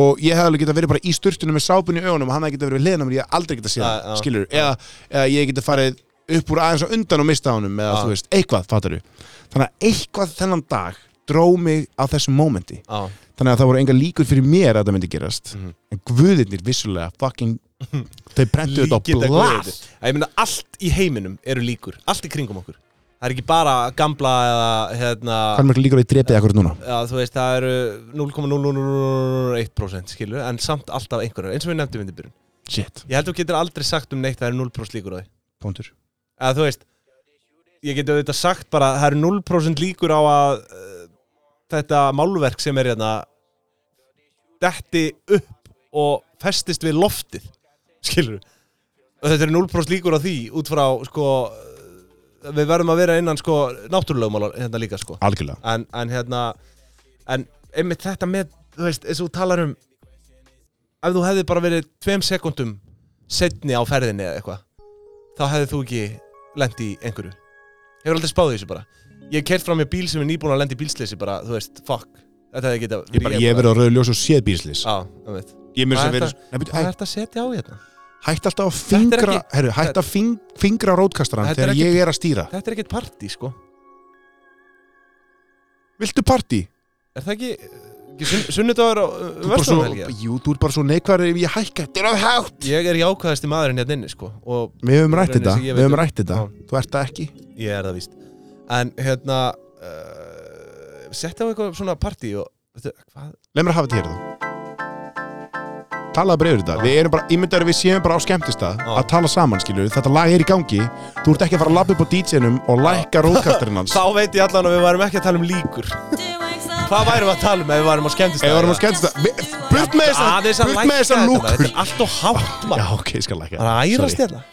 B: Og ég hefði alveg getað verið bara í sturtunum með sápunni í augunum Og hann hefði getað verið við hliðina á mér, ég hef aldrei getað séð
A: Já,
B: það
A: já.
B: skilur eða, eða ég getað farið upp úr aðeins og undan og mista honum Eða
A: Já.
B: þú veist, eitthvað, fattar du Þannig að eitthvað þennan dag dró mig á þessum mómenti
A: já,
B: Þannig að það voru enga líkur fyrir mér að það myndi gerast
A: Mhm.
B: En guðirnir vissulega fucking Þau brendu þetta á
A: Líkinda
B: blað
A: guðið Ég meina, allt í heiminum eru líkur Allt í kringum okkur Það er ekki bara gamla eða, hérna
B: Hvað er mörg líkur að ég drepið akkur núna?
A: Já, þú veist, það eru 0,001% skilur En samt alltaf einhverjar, eins og við nefndum undir byrjun
B: Shit,
A: Ég held þú getur aldrei sagt um neitt að það eru 0% líkur á því
B: punktur
A: Eða þú veist, ég getur auðvitað sagt bara Það eru 0% líkur á að uh, Þetta málverk sem er hérna Detti upp og festist við loftið Skilur Og þetta eru 0% líkur á því út frá sko eh, Við verðum að vera innan sko náttúrulegumál hérna líka sko
B: Algjörlega
A: en, en hérna en einmitt þetta með þú veist, eins og þú talar um ef þú hefði bara verið tveim sekundum setni á ferðinni eða eitthvað þá hefði þú ekki lent í einhverju hefur aldrei spáðið þessu bara ég hef kert fram með bíl sem er nýbúin að lenda í bílsleysi bara, þú veist, fuck þetta hefði geta
B: Ég, bara, ég hef verið á rauðu ljós og séð bíslis
A: á, um veit,
B: Ég mér sem
A: Hvað er
B: verið Nei, byrju,
A: hvað
B: hæ-
A: er þetta að setja á hérna?
B: Hætt alltaf að
A: Þetta er
B: fingra
A: ekki-
B: herru, Hætt að fing, fingra rótkastaran
A: Þetta er
B: Þegar
A: ekki-
B: ég er að stýra
A: þetta er ekkert partí, sko
B: Viltu partí?
A: er það ekki, ekki sun, sunnudagur á
B: Þú bara svo,
A: verðstofnhelgi?
B: jú, þú er bara svo neikvar Ef ég hækka, þetta er að hátt
A: ég er jákvæðasti maðurinn hérna inni, sko og
B: Við höfum rætt
A: Raunin
B: þetta
A: sem
B: Við
A: ég veit
B: höfum
A: um.
B: rætt þetta
A: Já.
B: Þú ert það ekki
A: Ég er það víst en hérna uh, setja á eitthvað svona partí og veitu, hvað,
B: Leð mér að hafa þetta hér þá Talaðu bara yfir þetta Við erum bara, ég myndi að við séum bara á skemmtistað
A: Já.
B: Að tala saman, skilur Þetta lag er í gangi Þú ert ekki að fara að labba upp á DJ-num Og lækka rókastarinn hans
A: þá veit ég allan að við varum ekki að tala um líkur hvað værum við að tala um ef við varum á skemmtist
B: Ef við varum á skemmtistað við- Burt með þessa Burt með þessa lúkur
A: þetta er allt og hátt
B: Já,
A: maður.
B: ok, ég skal lækka
A: það er að ærast
B: Sorry.
A: hérna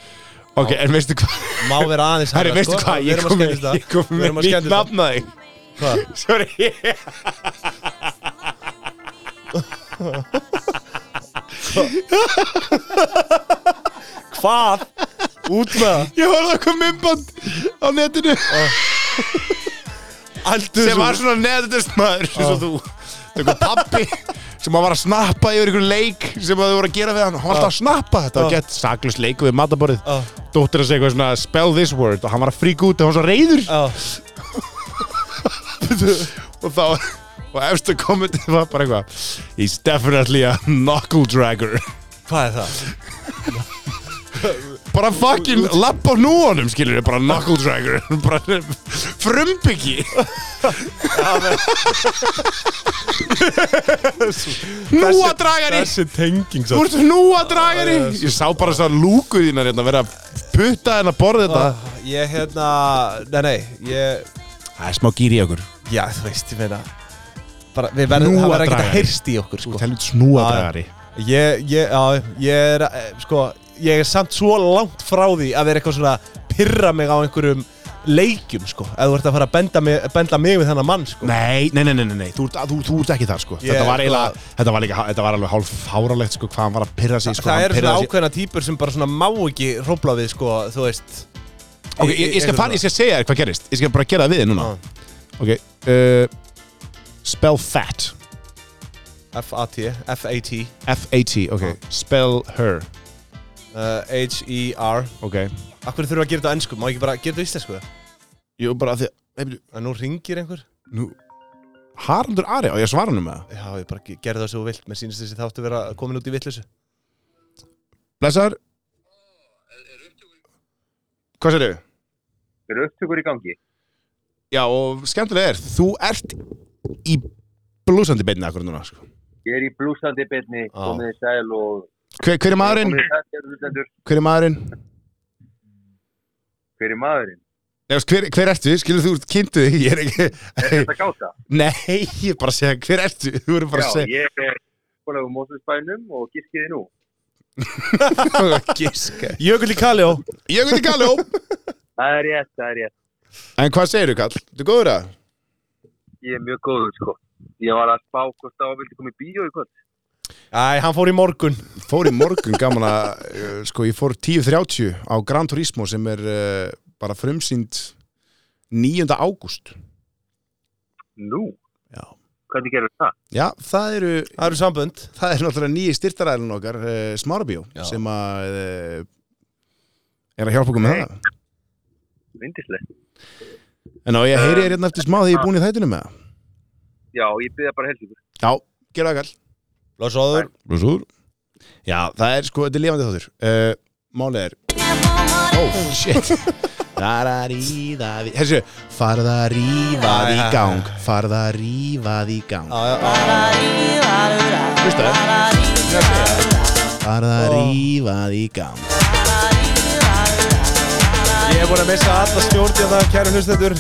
B: Ok, en veistu hvað
A: má vera aðeins
B: Herri, veistu
A: sko.
B: hvað,
A: Við
B: ég
A: erum á
B: kom með,
A: skemmtistað.
B: ég kom
A: Við
B: með
A: erum á
B: nýtt
A: skemmtistað.
B: nafn að þig
A: Hvað?
B: Sorry
A: hvað? út með það
B: Ég horfði að koma myndband á netinu
A: Aldur
B: sem var svona neðutismæður eins og þú Það er eitthvað pappi sem að var að snappa yfir einhver leik sem að þau voru að gera við hann hann var alltaf að snappa þetta
A: Ah.
B: var gett saklust leik við mataborðið
A: Ah.
B: dóttir að segja eitthvað svona spell this word og hann var að fríka út og hann var svo reyður
A: svona
B: og þá og efstu kommentið var bara eitthvað he's definitely a knuckle dragger
A: Hvað er það?
B: bara fucking lapp á núanum skilur bara knuckle dragger bara frumbyggi núadragari
A: Þessi tenging
B: Þú
A: svo
B: ert núadragari Ég sá bara þessar lúkur þínar hérna vera að putta henn að borða þetta
A: Ég hérna, nei nei ég,
B: Það er smá gýri í okkur
A: Já þú veist, ég meina bara, Við verðum,
B: Nú
A: það
B: að
A: verður ekkert
B: draga
A: að heyrst í okkur sko.
B: Helvits núadragari
A: Ég, ég, já, ég er eh, sko, Ég er samt svo langt frá því að vera eitthvað svona að pyrra mig á einhverjum leikjum sko Ef þú ert að fara að benda mig, benda mig við þennan mann sko
B: Nei, nei, nei, nei, nei, nei. Þú, ert, þú, þú ert ekki þar sko
A: Ég
B: Þetta
A: er
B: var
A: bara-
B: eiginlega, þetta var, líka, þetta var alveg hálf fáralegt sko Hvað hann var að pyrra sig sko
A: Það
B: hann
A: eru svona
B: pirraði sig-
A: ákveðna típur sem bara svona má ekki hrópla við sko, þú veist
B: Ok, ég, ég, skal fara, ég skal segja þér hvað gerist Ég skal bara gera það við þér núna
A: Ah.
B: Ok, uh, spell fat
A: F-A-T, F-A-T
B: F-A-T, ok Spell her,
A: uh, H-E-R
B: ok
A: Akkur þurfum við að gera þetta á ennsku, má ekki bara gera þetta á íslensku
B: Jú, bara af því að nei,
A: að nú ringir einhver
B: Nú, Haraldur Ari, á ég að svara hann um það
A: Já, ég bara ge- gerði það svo vilt, mér sýnist þessi þáttu vera komin út í vitleysu
B: Blessaður Hvað sér þau?
E: Eru upptökur í gangi?
B: Já, og skemmtilega er, þú ert í blúsandi beinni akkur núna sko.
E: Ég er í blúsandi byrni,
A: Á.
E: komið í sæl og...
B: hver, hver er maðurinn?
E: Komið í sæl, kæru hlustendur.
B: Hver er maðurinn?
E: Hver er maðurinn?
B: Nei, veist, hver, hver ertu? Skilur þú kynntu þig? Ég er ekki
E: Þetta gáta.
B: Nei, ég er bara að segja, hver ertu? Þú verður bara
E: Já,
B: að segja
E: ég er skólaðu Mósusbænum og giskiði nú.
B: Giska
A: Jökull í Kaljó
B: Ég veit ekki alveg
E: Það er rétt, það er rétt.
B: En hvað segir þú, Kall? Þú góður að?
E: Ég er mjög góður, sko. Ég var að spá hvort það vildi koma í bíó í kvöld.
A: Æ, hann fór í morgun
B: Fór í morgun gaman að uh, Sko, ég fór 10.30 á Gran Turismo sem er uh, bara frumsýnd 9. ágúst
E: Nú?
B: Já.
E: Hvernig gerur það?
B: Já, það eru,
A: Það eru sambönd
B: það eru náttúrulega nýji styrtaræðin okkar, uh, Smárabíó,
A: Já.
B: sem að uh, er að hjálpa okkur með það.
E: Vindislegt.
B: En á ég heyri þér hérna eftir smá þegar ég er búin í þættinu með það.
E: Já, ég byrja bara helst ykkur.
B: Já, gera það kall.
A: Lósóður
B: Blúsúður. Já, það er sko, þetta er lifandi þáttur. Uh, málið er, oh shit. Þar að ríða því, hersu, farða að rífa því í gang, farða að rífa því í gang,
F: Hlusta
B: farða
A: Oh.
B: að rífa því í gang.
A: Ég hef búin að missa alla stjórnir það, kæru hlustendur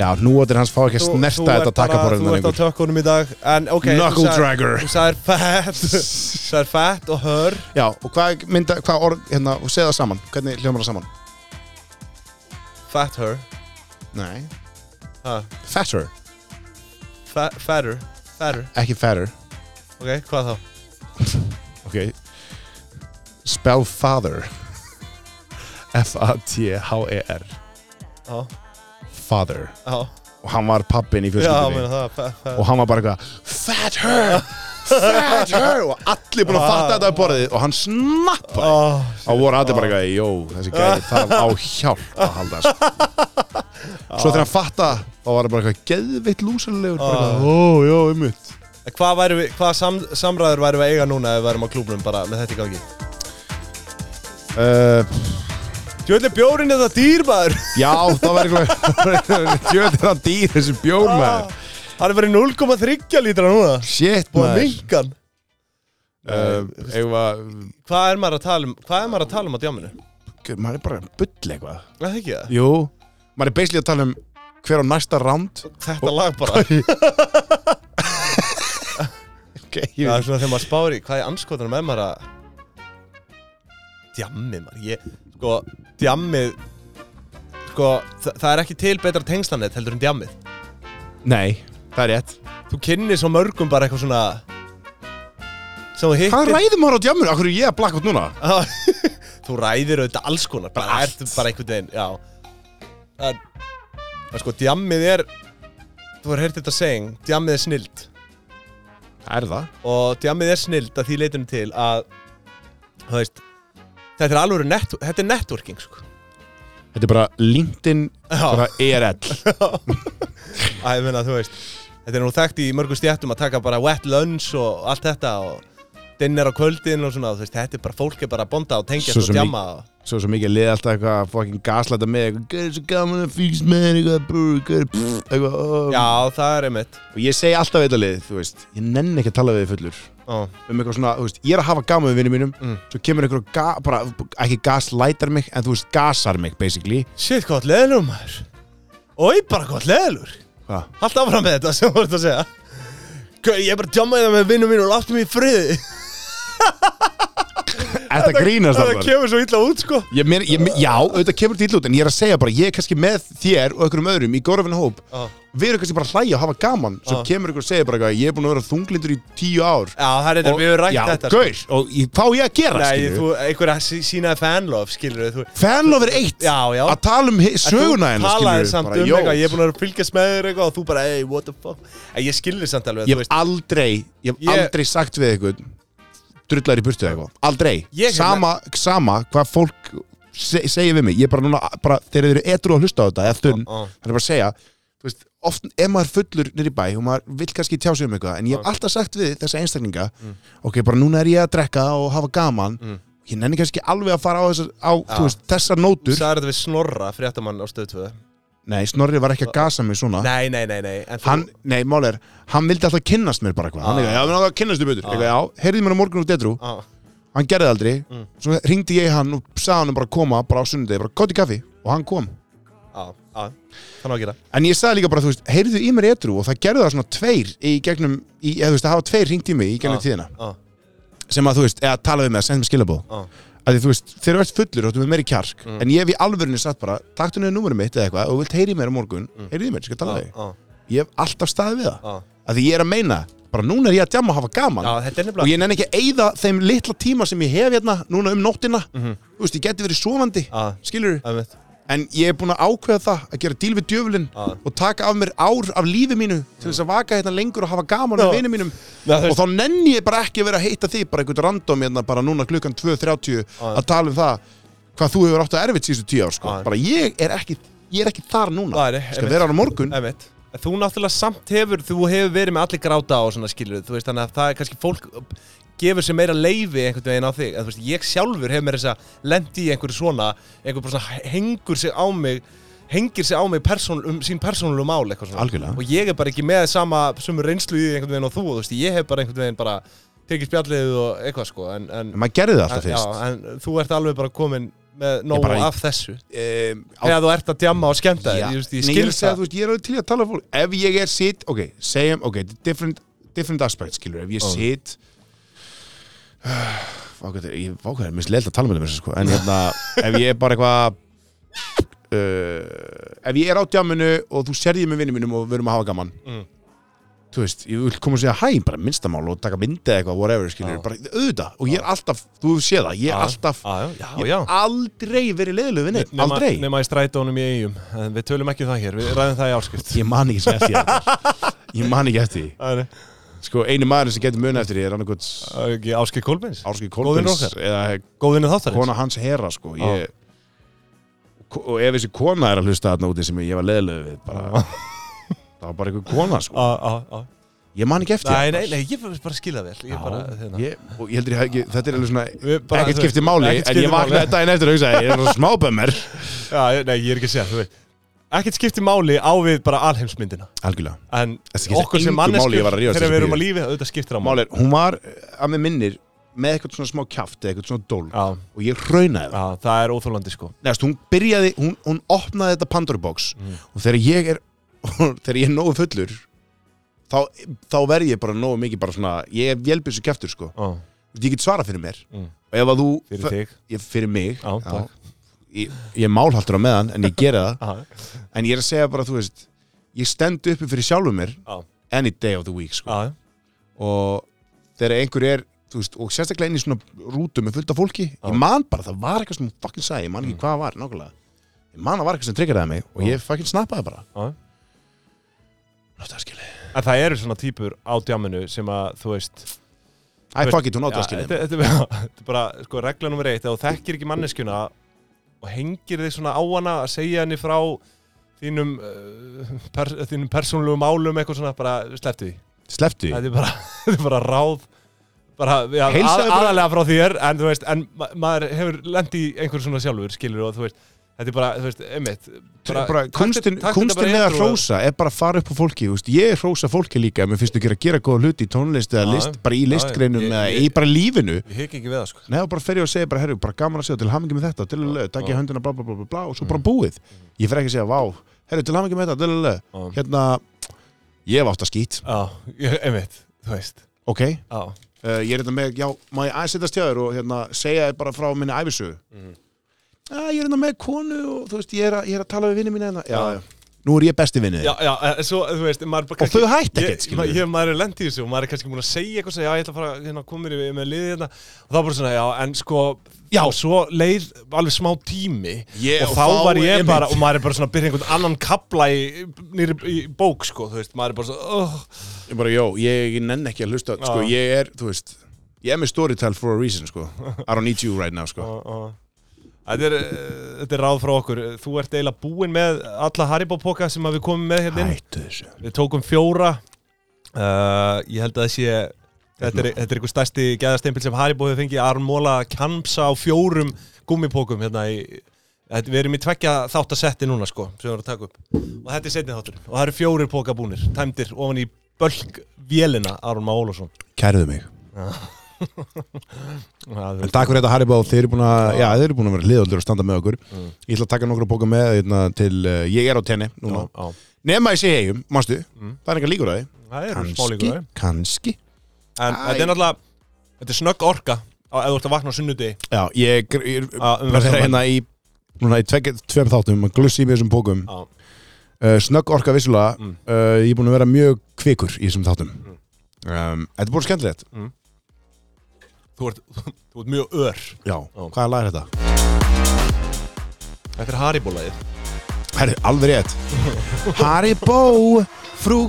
B: Já, nú áttir hans fá ekki að
A: Þú-
B: snerta
A: þú
B: þetta
A: ert bara-
B: takkaborðinu
A: Þú ert á tökkunum í dag En ok, þú
B: Knuckle
A: sagðir-
B: dragger.
A: Þú sagðir fat Þú sagðir fat og hör
B: Já, og hvað mynda, hvað orð, hérna, og segja það saman, hvernig hljómar það saman?
A: Fat her
B: Nei.
A: Ha,
B: Fatter,
A: fa- Fatter Fatter
B: ekki fatter.
A: Ok, hvað þá?
B: Ok. Spell father.
A: E
B: F-A-T-H-E-R.
A: Já,
B: Father.
A: já
B: Og hann var pappin í
A: Já, meina
B: fjölskyldinni.
A: það fa- fa-
B: Og hann var bara eitthvað, fatter, fatter, og allir búin að fatta þetta á borðið og hann snappaði.
A: Ó,
B: Og voru allir bara eitthvað, jó, þessi gæði þarf á hjálp að halda. sko." Svo þegar hann fatta, þá var það bara eitthvað geðvitt lúsalegur, bara eitthvað, ó, já, umut.
A: En Hvað, værum við, hvað sam, samræður værum
B: Eh,
A: við að eiga núna ef við værum á klúbnum bara með þetta í gangi?
B: Uh,
A: Djöðlega bjórin er það dýr maður
B: Já, það var eitthvað Tjöður það dýr þessi bjór maður
A: Hann er verið 0,3 lítra núna
B: Shit
A: Búið að
B: maður
A: minka Ah. hann
B: uh, Eða
A: Hvað er maður að tala um Hvað er maður að tala um á djáminu?
B: Maður er bara að bulla eitthvað
A: Er Það ekki það
B: Jú Maður er basically að tala um hver á næsta round
A: Þetta lag bara
B: Ok,
A: Það er svona þegar maður spáir í Hvað er anskotanum er maður að Djammið maður Ég Sko Djammið Sko það, það er ekki til betra tengslanett heldur en djammið
B: Nei, það er rétt
A: Þú kynni svo mörgum bara eitthvað svona Sem þú
B: Hvað
A: hittir
B: ræðum maður á djammur? Akkur er ég að blakka út núna?
A: Já, Þú ræðir auðvitað alls konar bara
B: Bara
A: ertu bara einhvern veginn, já Það er, það er sko, djammið er þú er heyrt þetta seging, djammið er snild
B: Það er það
A: og djammið er snild að því leitum til að þú veist þetta er alveg net, þetta er networking sko.
B: Þetta er bara LinkedIn bara E ERL
A: að ég meina, þú veist þetta er nú þekkt í mörgum stjættum að taka bara wet lunch og allt þetta og dinner á kvöldin og svona þú veist, þetta er bara fólk er bara að bonda og tengja
B: Svo
A: og
B: sem í-
A: djamma og
B: Svo svo mikið liði alltaf eitthvað að fucking gaslæta með eitthvað Hvað er svo gaman að fylgst með þér eitthvað brr, hvað er pff, eitthvað oh.
A: já, það er einmitt
B: Og ég segi alltaf eitthvað lið, þú veist Ég nenni ekki að tala við þið fullur
A: Ó,
B: um eitthvað svona, þú veist, ég er að hafa gaman við vinnum mínum
A: Mm.
B: svo kemur einhver og ga, bara, ekki gaslætar mig en þú veist, gasar mig, basically
A: shit, hvað leðlur maður oi, bara hvað leðlur
B: Hva?
A: Hallt áfram með þetta sem þú ert að segja Gau, Ég er bara djammaði það með vinnum mín og láttu mig í friði
B: Er það grínast
A: Það
B: þarna?
A: kemur svo illa út sko
B: Ég meina, ég, meina- já, auðvitað kemur til út en ég er að segja bara, ég er kannski með þér og einhverjum öðrum í górafinu hóp
A: Já,
B: við erum kannski bara að hlæja og hafa gaman svo
A: Já.
B: kemur einhver og segir bara eitthvað, ég er búin að vera þunglindur í tíu ár
A: það er þetta, við höfum rætt
B: já,
A: þetta sko.
B: gaur, og ég, hvað á ég að gera,
A: Nei,
B: skilju
A: þú, einhver að sí- sínaði fanlof, skilur þú
B: fanlof er eitt,
A: Já, já
B: að tala um hi- söguna hennar,
A: Þú talaði samt um
B: jó.
A: eitthvað, ég er búin að vera að fylgjast með þér eitthvað og þú bara, hey, what the fuck En ég skilur samt alveg,
B: ég
A: þú
B: hef
A: veist
B: aldrei ég hef
A: Ég-
B: aldrei sagt við eitthvað drullar í burtu eða eitthvað, aldrei
A: Ég hef-
B: sama, sama hvað fólk se, segir við mig, ég er bara núna bara, þegar þeir eru etru að hlusta á þetta, eða þunn
A: Ó, ó.
B: þannig bara að segja, þú veist, oft ef maður er fullur nýr í bæ og maður vill kannski tjá sig um eitthvað, en ég hef alltaf sagt við þessa einstaklinga,
A: Mm.
B: ok, bara núna er ég að drekka og hafa gaman, ég nenni kannski alveg að fara á, þessar, á þú veist, þessar
A: Þú
B: nótur,
A: sagði þetta við Snorra, fréttamann á stöð 2
B: nei, Snorri var ekki að gasa mig svona,
A: Nei, nei, nei, nei en þú-
B: Ah. hann, nei, mál er, hann vildi alltaf kynnast mér bara eitthvað, hann eitthvað, já, við náttúrulega kynnast þér betur, eitthvað, já, heyrði mér á morgun úr detru,
A: Á,
B: hann gerði það aldrei, svo ringdi ég í hann og sagði hann bara að koma bara á sunnudegi, bara kóti kaffi og hann kom.
A: á, á Þannig að ah. gera
B: En ég sagði líka bara, þú veist, heyrðu í mér etru og það gerði það svona tveir í gegnum, í, eða þú veist, það hafa tveir ringt í mig í gegnum
A: Á,
B: tíðina,
A: á,
B: sem að þú veist, eða tala við mig að senda mér skilabóð.
A: á,
B: Að því þú veist, þegar þú ert fullur og þú er meiri kjark, en ég hef í alvörinu sagt bara, taktu niður númurum mitt eða eitthvað og þú vilt heyri mér á morgun, mm. í mér, ég skal
A: á,
B: tala við. þig.
A: á,
B: Ég hef alltaf staðið við það.
A: á
B: að því ég er að meina bara núna er ég að djamma og hafa gaman
A: Já, þetta er nefnilega
B: og ég nenni ekki að eyða þeim litla tíma sem ég hef hérna núna um nóttina þú veist, ég geti verið sofandi
A: Mhm. Já.
B: skilur,
A: Einmitt.
B: en ég er búin að ákveða það að gera díl við djöfulinn
A: Já.
B: og taka af mér ár af lífi mínu til þess að vaka hérna lengur og hafa gaman
A: Já.
B: með vinum mínum
A: Já, þú
B: og
A: veist-
B: þá nenni ég bara ekki að vera að heita þig bara einhvern random hérna bara núna klukkan 2.30 að tala um það hvað þú hefur átt að erfitt síðustu tíu ár sko.
A: Já.
B: bara ég er ekki, ég er ekki þar núna
A: Nei, nei,
B: skal
A: einmitt.
B: vera á morgun
A: Einmitt. En Þú náttúrulega samt hefur, þú hefur verið með allir gráta á og svona skilur, þú veist þannig að það er kannski fólk gefur sér meira leifi einhvern veginn á þig, en þú veist ég sjálfur hefur mér þess að lendi í einhverju svona, einhver bara svona hengur sig á mig, hengir sig á mig persón, um sín persónulegu mál eitthvað svona
B: Algjörlega.
A: og ég er bara ekki með sama sömu reynslu í því einhvern veginn og þú, þú veist ég hef bara einhvern veginn bara tekið spjallið og eitthvað sko, en, en,
B: En maður gerði það alltaf
A: en, já,
B: fyrst
A: en þú ert alveg bara komin með nóg
B: bara-
A: af þessu,
B: um,
A: þegar þú ert að djamma og skemmta þér,
B: Já.
A: ég, þú veist,
B: Nei,
A: ég
B: ég er
A: skil
B: að segja,
A: það
B: þú veist, ég er alveg til í að tala við fólk ef ég er sitt, ok, segjum, ok different, different aspect, skilur, ef ég
A: Ó.
B: sit vákvæður, ég vákvæður, mér sleilt að tala með mér sko, en hérna, ef ég er bara eitthvað uh, ef ég er á djáminu og þú serðið með vinnum mínum og við erum að hafa gaman
A: Mm.
B: þú veist, ég vil koma og segja hæ, bara minnstamál og taka myndið eitthvað, whatever, skilur,
A: Já.
B: bara auðvitað, og ég er alltaf, þú sé það, ég er alltaf
A: Já, já, já,
B: Ég
A: Ah. já.
B: hef aldrei verið leiðilegu við neitt,
A: nema,
B: aldrei
A: nema í strætónum í eigum en við tölum ekki um það hér, við ræðum það í áskrift
B: Ég man ekki sem eftir það Ég man ekki eftir því.
A: það er
B: Sko einu maður sem getur muna eftir því er annarkot
A: það er ekki áskrift Kolbins
B: Árski
A: Góðvinur
B: Kolbins
A: okkar.
B: eða
A: góðinu þáttarins
B: kona hans herra sko ég, Ko- og ef þessi kona er að hlusta þarna úti sem ég var leðilegu við bara, það var bara einhver kona sko
A: á, á, á.
B: Ég man ekki eftir
A: Nei,
B: því
A: nei, nei, ég var bara að skila vel Ég bara,
B: Já,
A: hérna
B: ég, og ég heldur ég hafi ekki, þetta er alveg svona
A: Við bara-
B: ekkert skipti máli,
A: Ekkert
B: en
A: skiptir
B: ég
A: máli.
B: vaknaði daginn eftir og hugsaði, ég er svona smábömmar
A: Já, ég- nei, ég er ekki að segja, þú veit Ekkert skipti máli á við bara alheimsmyndina
B: Algjörlega,
A: En
B: Það skiptir
A: okkur sem
B: engu máli,
A: manneskjur
B: ég var að rífast
A: Þegar
B: þessu
A: við erum
B: bíl.
A: að lífi, auðvitað skiptir á máli
B: máli er, hún var eh, að mér minnir með eitthvað svona smá kjaft eða eitthvað svona dól
A: Já,
B: og ég raunaði það,
A: já, það er óþólandi sko
B: neðast, hún byrjaði hún, hún opnaði þetta Pandora-box
A: Mm.
B: og þegar ég er þegar ég er nógu fullur þá, þá verð ég bara nógu mikið bara svona, ég er vélbissu kjaftur sko,
A: Ó,
B: ég get svarað fyrir mér
A: Mm.
B: og ef að þú,
A: Fyrir þig
B: ég, fyrir mig
A: Já, takk.
B: Ég, ég er málhaldur á meðan en ég gera það
A: Já,
B: En ég er að segja bara, þú veist Ég stend uppi fyrir sjálfum mér
A: Já.
B: Any day of the week, sko
A: já,
B: Og þegar einhver er, þú veist Og sérstaklega inn í svona rútu með fullt af fólki
A: Já. Mm.
B: Ég man bara, það var eitthvað sem hún fucking sagði Ég man ekki hvað það var, nákvæmlega Ég man að var eitthvað sem triggeraði mig Og
A: Já.
B: ég fucking snappaði bara
A: já
B: Náttaðskili
A: En það eru svona típur á djáminu sem að, þú veist
B: Æ, fuck it, hún
A: Já,
B: náttaðskili
A: þetta, þetta, já, þetta er bara, sko, regla nummer eitt ef þú þekkir ekki manneskjuna og hengir þig svona á hana að segja henni frá þínum uh, per, þínum persónulegu málum eitthvað svona, bara slepptu því
B: Sleptu því.
A: þetta er bara, þetta er bara ráð bara, já, að,
B: Heilsaðu bara-
A: aðalega frá þér en þú veist, en ma maður hefur lent í einhverjum svona sjálfur, skilur og þú veist þetta er bara, þú veist, einmitt
B: Bara, bara
A: taktu-
B: kunstin,
A: taktu þetta
B: kunstin
A: bara
B: með að
A: inn og-
B: hrósa er bara að fara upp á fólki þú veist, ég hrósa fólki líka ef mér finnst þú gera, gera góða hluti í tónlist eða
A: Já,
B: list, bara í
A: já,
B: listgreinum
A: ég-
B: eða
A: ég-
B: í bara lífinu
A: Ég hekki ekki við það, sko
B: Nei, og bara fer ég að segja bara, herru, bara gaman að segja til hamingi með þetta, dillalö, takk ég höndina, bla bla bla bla bla og svo
A: Mm.
B: bara búið. Ég fer ekki að segja, vá, herru, til hamingi með þetta, dillalö,
A: Já.
B: hérna, ég hef átt að skýt,
A: Já, ég- einmitt, þú veist
B: ok, uh,
A: Já,
B: ég er þetta með, já, má ég aðeins setjast hjá þér og hérna, segja þér bara frá minni æfisögu. Mm. ég er hérna með konu og þú veist, ég er að, ég er að tala við vinni mína hérna, já,
A: Já.
B: já, nú er ég besti vinnið.
A: já, já, en svo, eh, þú veist maður bara
B: Og þau hætt
A: Ég,
B: ekkert, skilur
A: ég, maður er lendið í þessu og maður er kannski búin að segja eitthvað sem já, ég ætla að fara hérna, komir í með liðið hérna og þá bara svona, já, en sko
B: Já.
A: og svo leið alveg smá tími
B: Ég-
A: og
B: og
A: þá
B: þá
A: var ég
B: einmitt.
A: bara og maður er bara svona að byrja einhvern annan kapla í, nýri, í bók, sko, þú veist maður er bara svona, oh,
B: Ég bara, já, ég nenn ekki að hlusta, sko,
A: Já.
B: ég er, þú veist, ég er með storytell for a reason, sko, I don't need you right now, sko.
A: oh, oh. Þetta er, eh, þetta er ráð frá okkur þú ert eiginlega búinn með alla Haribo-poka sem að við komum með hérna inn
B: Hættu þessu.
A: við tókum fjóra uh, ég held að það sé þetta er, þetta er einhver stærsti gæðastempil sem Haribo hefur fengið Aron Móla kjamsa á fjórum gummipókum hérna í Þetta, við erum í tveggja þáttasetti núna sko sem við erum að taka upp og þetta er setni þáttur og það eru fjórir póka búnir, tæmdir ofan í bölk vélina Aron Má Ólafsson
B: Kærðu mig.
A: Það
B: En takk fyrir þetta Haribo, þeir eru búin að, já, þeir eru búin að vera liðaldur að standa með okkur. Ég ætla að taka nokkra bóka með hérna, til, uh, ég er á tenni núna.
A: á, á.
B: Nema ég sé hegjum, mástu, það er eitthvað líkur að því.
A: Það Mm. eru smá
B: Kanski,
A: líkur en
B: kannski.
A: þetta er náttúrulega þetta er snögg orka á, ef þú ert að vakna á sunnudegi
B: Já, ég, gr- ég er
A: Já, um
B: bara að vera
A: verðum.
B: hérna í, núna í tveg, tveim þáttum, að glussi í mig þessum bókum.
A: Já.
B: Uh, snögg orka vissulega,
A: Ah. Mm.
B: uh, ég er búin að vera mjög kvikur í þessum þáttum.
A: Mm.
B: Um, þetta er búin skemmtilegt.
A: þú ert, þú, ert mjög ör
B: Já, hvaða lag er þetta?
A: Þetta er Haribólaðið
B: Herri, alveg rétt Haribo, frú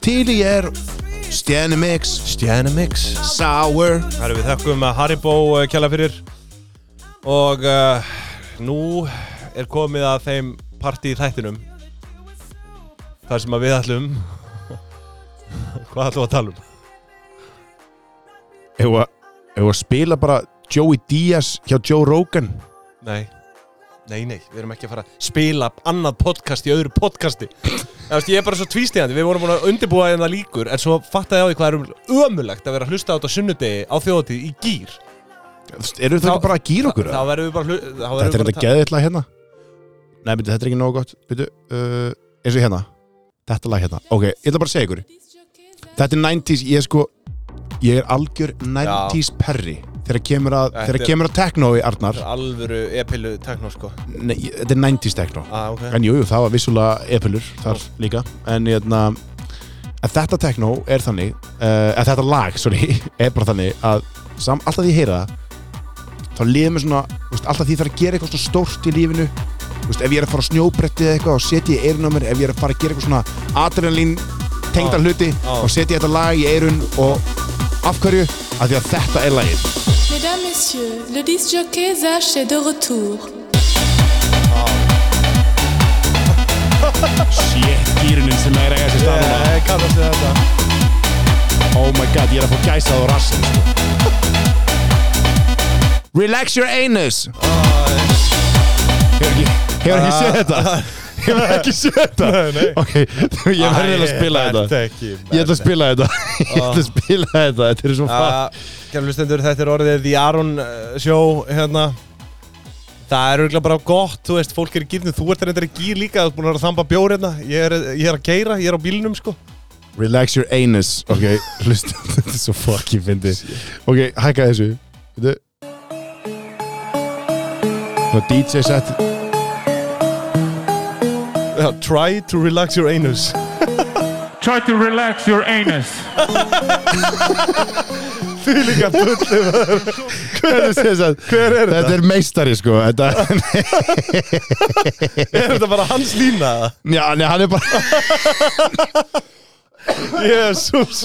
B: Til ég er Stjænemix,
A: Stjænemix
B: sour
A: Það eru við þekkum að Haribo eh, kjalla fyrir og uh, nú er komið að þeim partí í þættinum þar sem að við ætlum hvað ætlum við að tala um?
B: Ef að ef að spila bara Joey Diaz hjá Joe Rogan
A: Nei, nei, nei, við erum ekki að fara að spila annað podcast í öðru podcasti Það veist, ég er bara svo tvístíðandi, við vorum búin að undirbúa þeim það líkur en svo fattaði ég á því hvað er ömulegt að vera að hlusta á þetta á sunnudegi á þjóðatíð í gýr
B: Eru þau
A: Þá-
B: ekki bara að gýra okkur?
A: Þá
B: eða?
A: verðum við bara að um hlu- þá verðum
B: Þetta
A: við
B: er
A: bara
B: þetta geðiðla hérna Nei, beti, þetta er ekki nógu gott Beti, uh, eins og hérna Þetta lag hérna, ok, ég ætla bara að segja ykkur Þetta er 90s, ég er sko Ég er algjör 90s perri Þegar kemur að,
A: Þetta
B: þegar
A: er-
B: kemur að teknói, Arnar
A: Þetta er alvöru e-pillu tekno sko
B: Nei, ég- þetta er 90s teknó
A: ah, okay.
B: En jú, jú, það var vissulega epilur þar líka En hérna En þetta tekno er þannig uh, En þetta lag, sorry, er bara þannig Að sam, alltaf því ég heyra það Þá liðum við svona, þú veist, alltaf því ég þarf að gera eitthvað svona stórt í lífinu Þú veist, ef ég er að fara á snjóbretti eða eitthvað Þá setja ég eirun á mér Ef ég er að fara að gera eitthvað svona adrenalín Tengda
A: Já.
B: hluti
A: Já.
B: Þá setja ég þetta lag í eirun Og af hverju? Af því að þetta er lagið
F: Mesdames, Messieurs, le disjockey Zach est de retour.
B: Sjétt gýrunin sem er að eiga sér stað
A: Ég kannast við þetta
B: Oh my god, ég er að fá gæsað á rassin sko. Relax your anus Hefur ekki, hefur ekki séð þetta? Hefur ekki séð þetta?
A: Nei, nei.
B: Ok, ég verður eiginlega að spila þetta Ég ætla að spila þetta Ég ætla að spila þetta, þetta er svo fatt
A: Kjæmlu stendur, þetta er orðið The Aron uh, Show hérna Það er auðvitað bara gott, þú veist, fólk er í gírnum, þú ert reyndar í gír líka, þú ert búin að vera að þamba bjór hérna, ég er, ég er að keira, ég er á bílnum, sko.
B: Relax your anus Ok, hlusta Þetta er svo fucking fyndi Ok, hækka þessu Þetta Ná DJ set
A: Já, try to relax your anus.
G: Try to relax your anus.
B: Hver er þetta? Hver er þetta? Þetta er meistari sko Þetta
A: er þetta bara hans lína?
B: Já, nei, hann er bara
A: Jésús.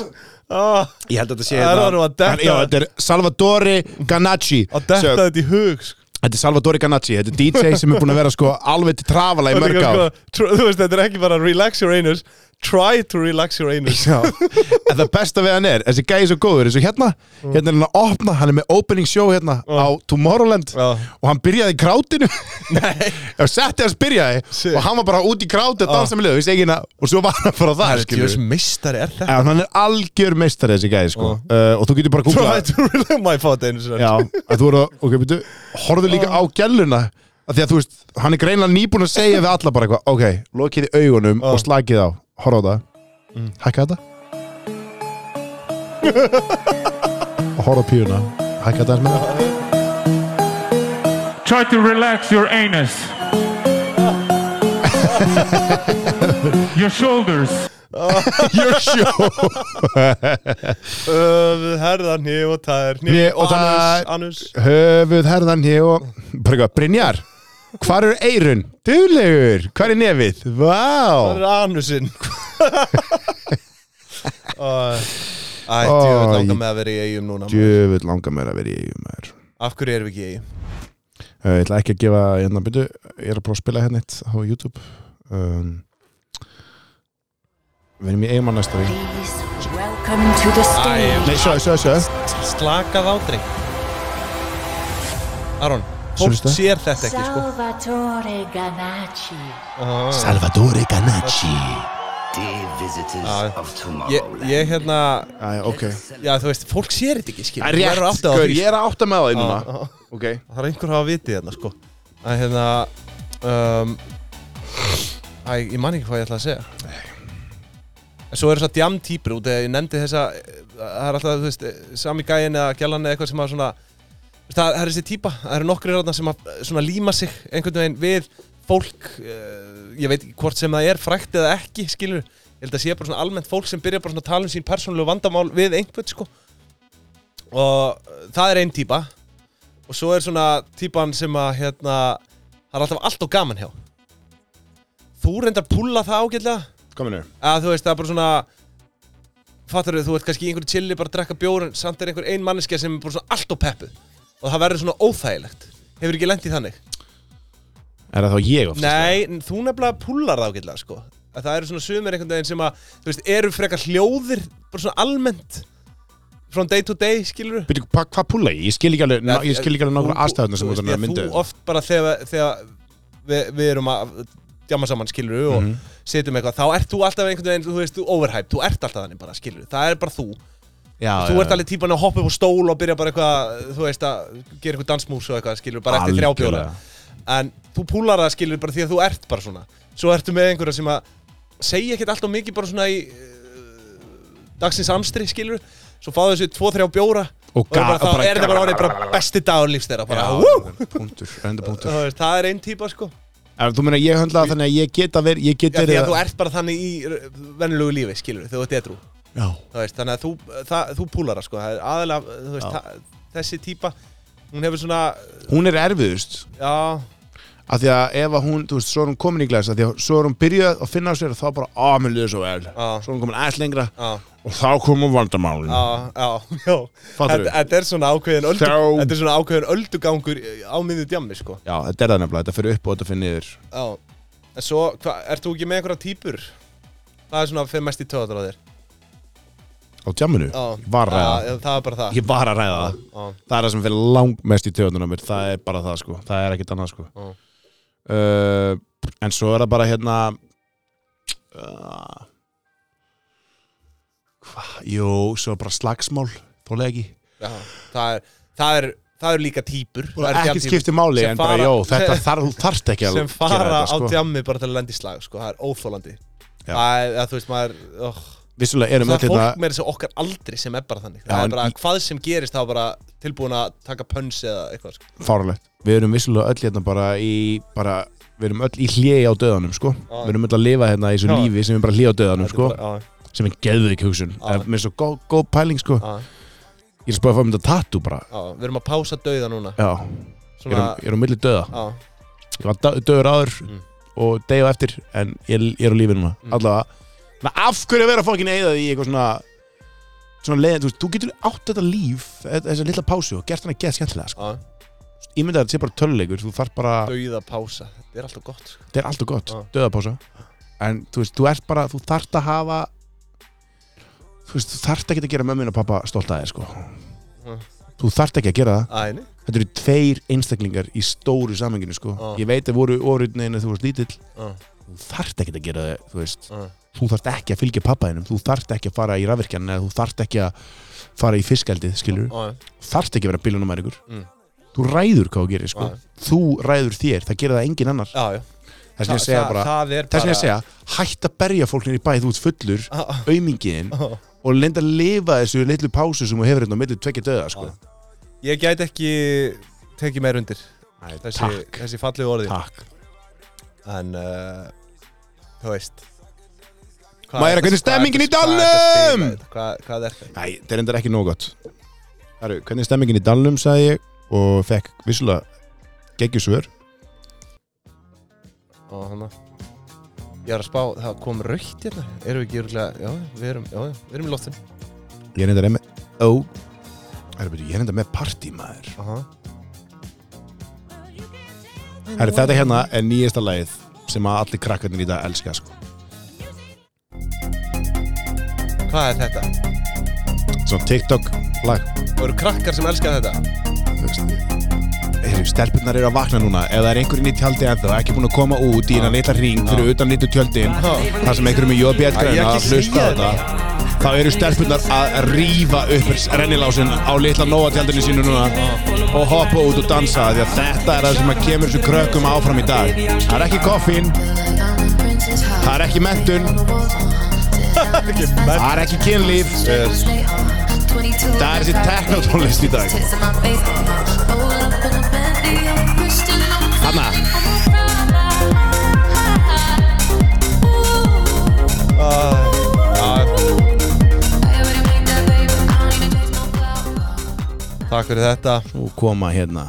A: Ah,
B: Ég held að þetta sé
A: það er að
B: Hann, já,
A: detta,
B: þetta er Salvatore Ganacci
A: að detta
B: So,
A: þetta í hug, sko.
B: Þetta er Salvatore Ganacci Þetta er DJ sem er búin að vera sko alveg til trafala í
A: Það er
B: mörg
A: líka,
B: ár
A: sko, tr- Þú veist, þetta er ekki bara relax your anus, try to relax your anus.
B: Já, en það besta við hann er þessi gæði svo góður, eins og hérna hérna er hann að opna, hann er með opening show hérna á Tomorrowland
A: Já.
B: og hann byrjaði í krátinu Nei og setti hans byrjaði
A: Shit.
B: og hann var bara út í kráti að dansa með lög, veist ekki hérna og svo var hann bara það, skilur við.
A: meistari er þetta?
B: en hann er algjör meistari þessi gæði sko. uh, og þú getur bara að
A: Try
B: googla
A: to relax my fat anus.
B: Já, að þú voru, ok, byrju, horfðu líka á gæluna að því að þú veist, hann er greinlega nýbúin að segja við alla bara eitthvað, ok, lokiði augunum og slakið á, horfa á það hækka þetta og horfa á píuna hækka þetta aðeins meira.
G: Try to relax your anus. your shoulders.
B: your show
A: Öfuð, herðan, hníf og tær,
B: Hné og tær.
A: anus, anus.
B: höfuð herðan hér og bara eitthvað, Brynjar hvar eru eirun? Duglegur, hvar er nefið?
A: Það
B: Vá,
A: er anusinn Æ,
B: Ó,
A: Æ, djöfull langar
B: ég-
A: með að vera í eigum núna maður.
B: djöfull langar mér að vera í eigum maður
A: Af hverju erum við ekki í eigum?
B: Uh, Ég ætla ekki að gefa hérna byrju, ég er að prófa að spila hérna eitt á YouTube um, Við erum í eiginmann næsta vík
H: Welcome to the
A: Ah,
H: stage.
B: Nei, sjö, sjö, sjö
A: Slakað ádrei Aron,
B: Sérðu
A: fólk
B: þetta?
A: sér þetta ekki sko
H: Salvatore Ganacci.
B: Salvatore Ganacci
A: Já. Ég, ég hérna,
B: Æ, ok
A: já þú veist, fólk sér þetta ekki skil
B: Það er rétt, gaur, ég er að átta Ah, með það
A: núna
B: núna Ok
A: Það er einhver að hafa vitið hérna sko Æ, hérna um, Æ, ég man ekki hvað ég ætla að segja En svo eru þessar djam týpur út eða ég nefndi þessa eh, það er alltaf, þú veist, eh, sami gæin eða gælan eða eitthvað sem að svona þú veist, það það er þessi týpa, það eru nokkri ráðna sem að eh, svona líma sig einhvern veginn við fólk, uh, ég veit ekki hvort sem það er frækt eða ekki, skilur ég held að sé bara svona almennt fólk sem byrja bara svona að tala um sín persónulegu vandamál við einhvern sko og eh, það er ein týpa og svo er svona týpan sem að hérna, það er alltaf allt og gaman hjá þú reyndar púla það ágætlega
B: Kominu
A: að þú veist, það er bara svona fattur þú ert kannski í einhverju chilli bara að drekka bjór en samt er einhver ein manneskja sem er bara svona allt og peppu og það verður svona óþægilegt hefur ekki lent í þannig
B: Er það þá ég oft?
A: Nei, en þú nefnilega púlar það ágætlega sko að það eru svona sumir einhvern veginn sem að þú veist, eru frekar hljóðir bara svona almennt from day to day, skilur
B: Byrju, hva- hvað púla ég? Ég skil ekki alveg, ná, ég skil ekki alveg nokkra aðstæðuna sem út að hérna. myndu
A: Þú oft bara þegar, þegar við, við erum að djama saman skilur og
B: Mhm.
A: setjum eitthvað, þá ert þú alltaf einhvern veginn, þú veist, þú overhype, þú ert alltaf þannig bara skilur, það er bara þú
B: Já,
A: þú ert alveg típan að hoppa upp á stól og byrja bara eitthvað, þú veist að gera eitthvað dansmús og eitthvað, skilur, bara eftir þrjábjóra
B: Algjörlega.
A: en þú púlar það skilur bara því að þú ert bara svona svo ertu með einhverja sem að segja ekkert alltaf mikið bara svona í uh, dagsins amstri, skilur svo fáðu þessu tvo, þrjá bjóra
B: Og
A: er
B: ga-
A: bara, þá
B: bara-
A: er þetta bara orðið bara besti dagur lífs þeirra bara, wú!
B: Já, punktur, enda punktur
A: Þú veist, það er einn típa sko
B: En Þú meina ég höndla það þannig að ég geta verið, ég get
A: Já, því
B: verið
A: að þú ert bara þannig í vennilegu lífi, skilur, þegar þú ert edru
B: Já
A: Þú veist, þannig að þú, það, þú púlar það sko, það er aðalega, þú veist, það, þessi típa, hún hefur svona,
B: Hún er erfiðust
A: já,
B: af því að ef að hún, þú veist, svo er hún komin í glæs af því að svo er hún byrjuð að finna á sér og þá bara, á, mér liður svo vel
A: Já.
B: svo er hún komin aðeins lengra
A: já,
B: og þá komum vandamálin
A: já, já, já,
B: Fattarðu?
A: þetta þetta er svona ákveðin, öldu,
B: Þá-
A: þetta er svona ákveðin öldugangur á miðju djammi sko,
B: Já, þetta er það nefnilega, þetta fyrir upp og þetta fyrir niður
A: já, en svo, hva, ert þú ekki með einhverja típur? Það er svona fyrir mest í töðar á þér,
B: á jamminu
A: Já.
B: var að ræða
A: Já, það var bara það
B: ég var að ræða það
A: Já.
B: það er það sem fyrir langmest í töðunum mér það er bara það sko, það er ekkert annað sko
A: Já.
B: uh, en svo er það bara hérna uh, hva, jú, svo er bara slagsmál þólega ekki,
A: Já, það er, það er, það er líka típur Það eru
B: ekki
A: jafntýpur
B: skipti máli
A: sem
B: en bara,
A: fara-
B: jú, þetta þar, þarft ekki að
A: sem
B: gera
A: fara
B: þetta,
A: á
B: sko.
A: djammi bara til að lenda í slag sko. það er óþólandi
B: Já.
A: það er, að, þú veist, maður oh.
B: vissulega erum
A: það
B: öll
A: er fólk
B: hérna
A: með þessu okkar aldri sem er bara þannig
B: Já,
A: það
B: en
A: er bara
B: í-
A: hvað sem gerist þá bara tilbúin að taka pönns eða eitthvað sko.
B: fáralegt við erum vissulega öll hérna bara í bara, við erum öll í hléi á döðanum sko.
A: Já.
B: við erum öll að lifa hérna í þessu
A: Já.
B: lífi sem er bara hléi á döðanum sko.
A: Þetta er bara,
B: sem er geðveik hugsun
A: Já.
B: ah. með svo góð gó pæling sko
A: á, á,
B: ég er spöðið að fá mynda tattoo bara
A: á. við erum að pása dauða núna
B: já, ég er,
A: svona,
B: ég er á milli döða
A: á,
B: ég var da- dauður áður
A: Mm.
B: og degi á eftir en ég, er- ég er á lífi núna allavega, menn af hverju að vera fokkin eðað í eitthvað svona svona leiðin, þú, veist, þú getur átt þetta líf þessa lilla pásu og gert hana geð skemmtilega sko.
A: á,
B: ég myndi að þetta sé bara töluleikur þú þarf bara,
A: dauða pása þetta er alltaf gott sko.
B: þetta er alltaf gott
A: Já.
B: döðapása, en þú veist, þú ert bara þú þarft að hafa þú veist, þú þarft ekki að gera mömmin og pappa stolt að þér sko
A: Mm.
B: þú þarft ekki að gera það
A: Æni,
B: Þetta eru tveir einstaklingar í stóru samhenginu sko.
A: Já.
B: Ég veit að voru ofriðin að þú varst lítill
A: Já.
B: Þú þarft ekki að gera það, þú veist
A: Já.
B: Þú þarft ekki að fylgja pappaðinum Þú þarft ekki að fara í rafvirkjan eða þú þarft ekki að fara í fiskaldið, skilur
A: á,
B: Þarft ekki að vera bilunum er ykkur
A: Ah. Mm. Ah.
B: Þú ræður hvað þú gerir, sko
A: Já.
B: Þú ræður þér, það gerir það engin annar
A: já, já.
B: Þess að ég segja
A: það,
B: bara,
A: það er
B: þess að
A: bara Ah.
B: ég segja Hætt að berja fólk nýr í bæ, þú ert fullur
A: Á, á,
B: aumingiðin
A: á.
B: og lenda að lifa þessu litlu pásu sem þú hefur hérna á milli tvekja döða, sko.
A: ég gæti ekki tekið meir undir
B: Æ,
A: þessi,
B: takk,
A: þessi fallegu orði
B: takk.
A: En uh, Þú veist Hvað
B: Mæra,
A: er
B: hvernig
A: þetta- hvað
B: stemmingin
A: er þetta-
B: í
A: hvað er þetta
B: dalnum?
A: spilað? Hvað, hvað er þetta?
B: Nei, það er endar ekki nóg gott Herru, hvernig er stemmingin í Dalnum, sagði ég og fekk vissulega geggjusvör
A: Og hana Ég var að spá, það kom raukt hérna Erum við ekki örgulega, já, við erum, já, já, við erum í loftin
B: Ég er endar með Ó Herru, betur, ég er endar með partímaður
A: Aha.
B: Herru, þetta hérna er nýjasta lagið sem að allir krakkarnir í dag elska sko.
A: Hvað er þetta?
B: Svo TikTok lag
A: Það eru krakkar sem elska þetta
B: Herru, stelpunar eru að vakna núna ef það er einhverjinn í tjaldi en ekki búin að koma út í hennan litla ring fyrir utan litlu tjöldin
A: Ha.
B: þar sem einhverjum í
A: Æ, ég
B: jóbjætgræna
A: ekki
B: að hlusta á
A: segja þér
B: þetta þá eru stelpunar að rífa upp rennilásin á litla nóatjaldinu sínu núna og hoppa út og dansa því að þetta er það sem að kemur þessu krökkum áfram í dag það er ekki koffín það er ekki mentun það er ekki kynlíf það er þessi teknotónlist í dag Hanna
A: uh, Takk fyrir þetta
B: og koma hérna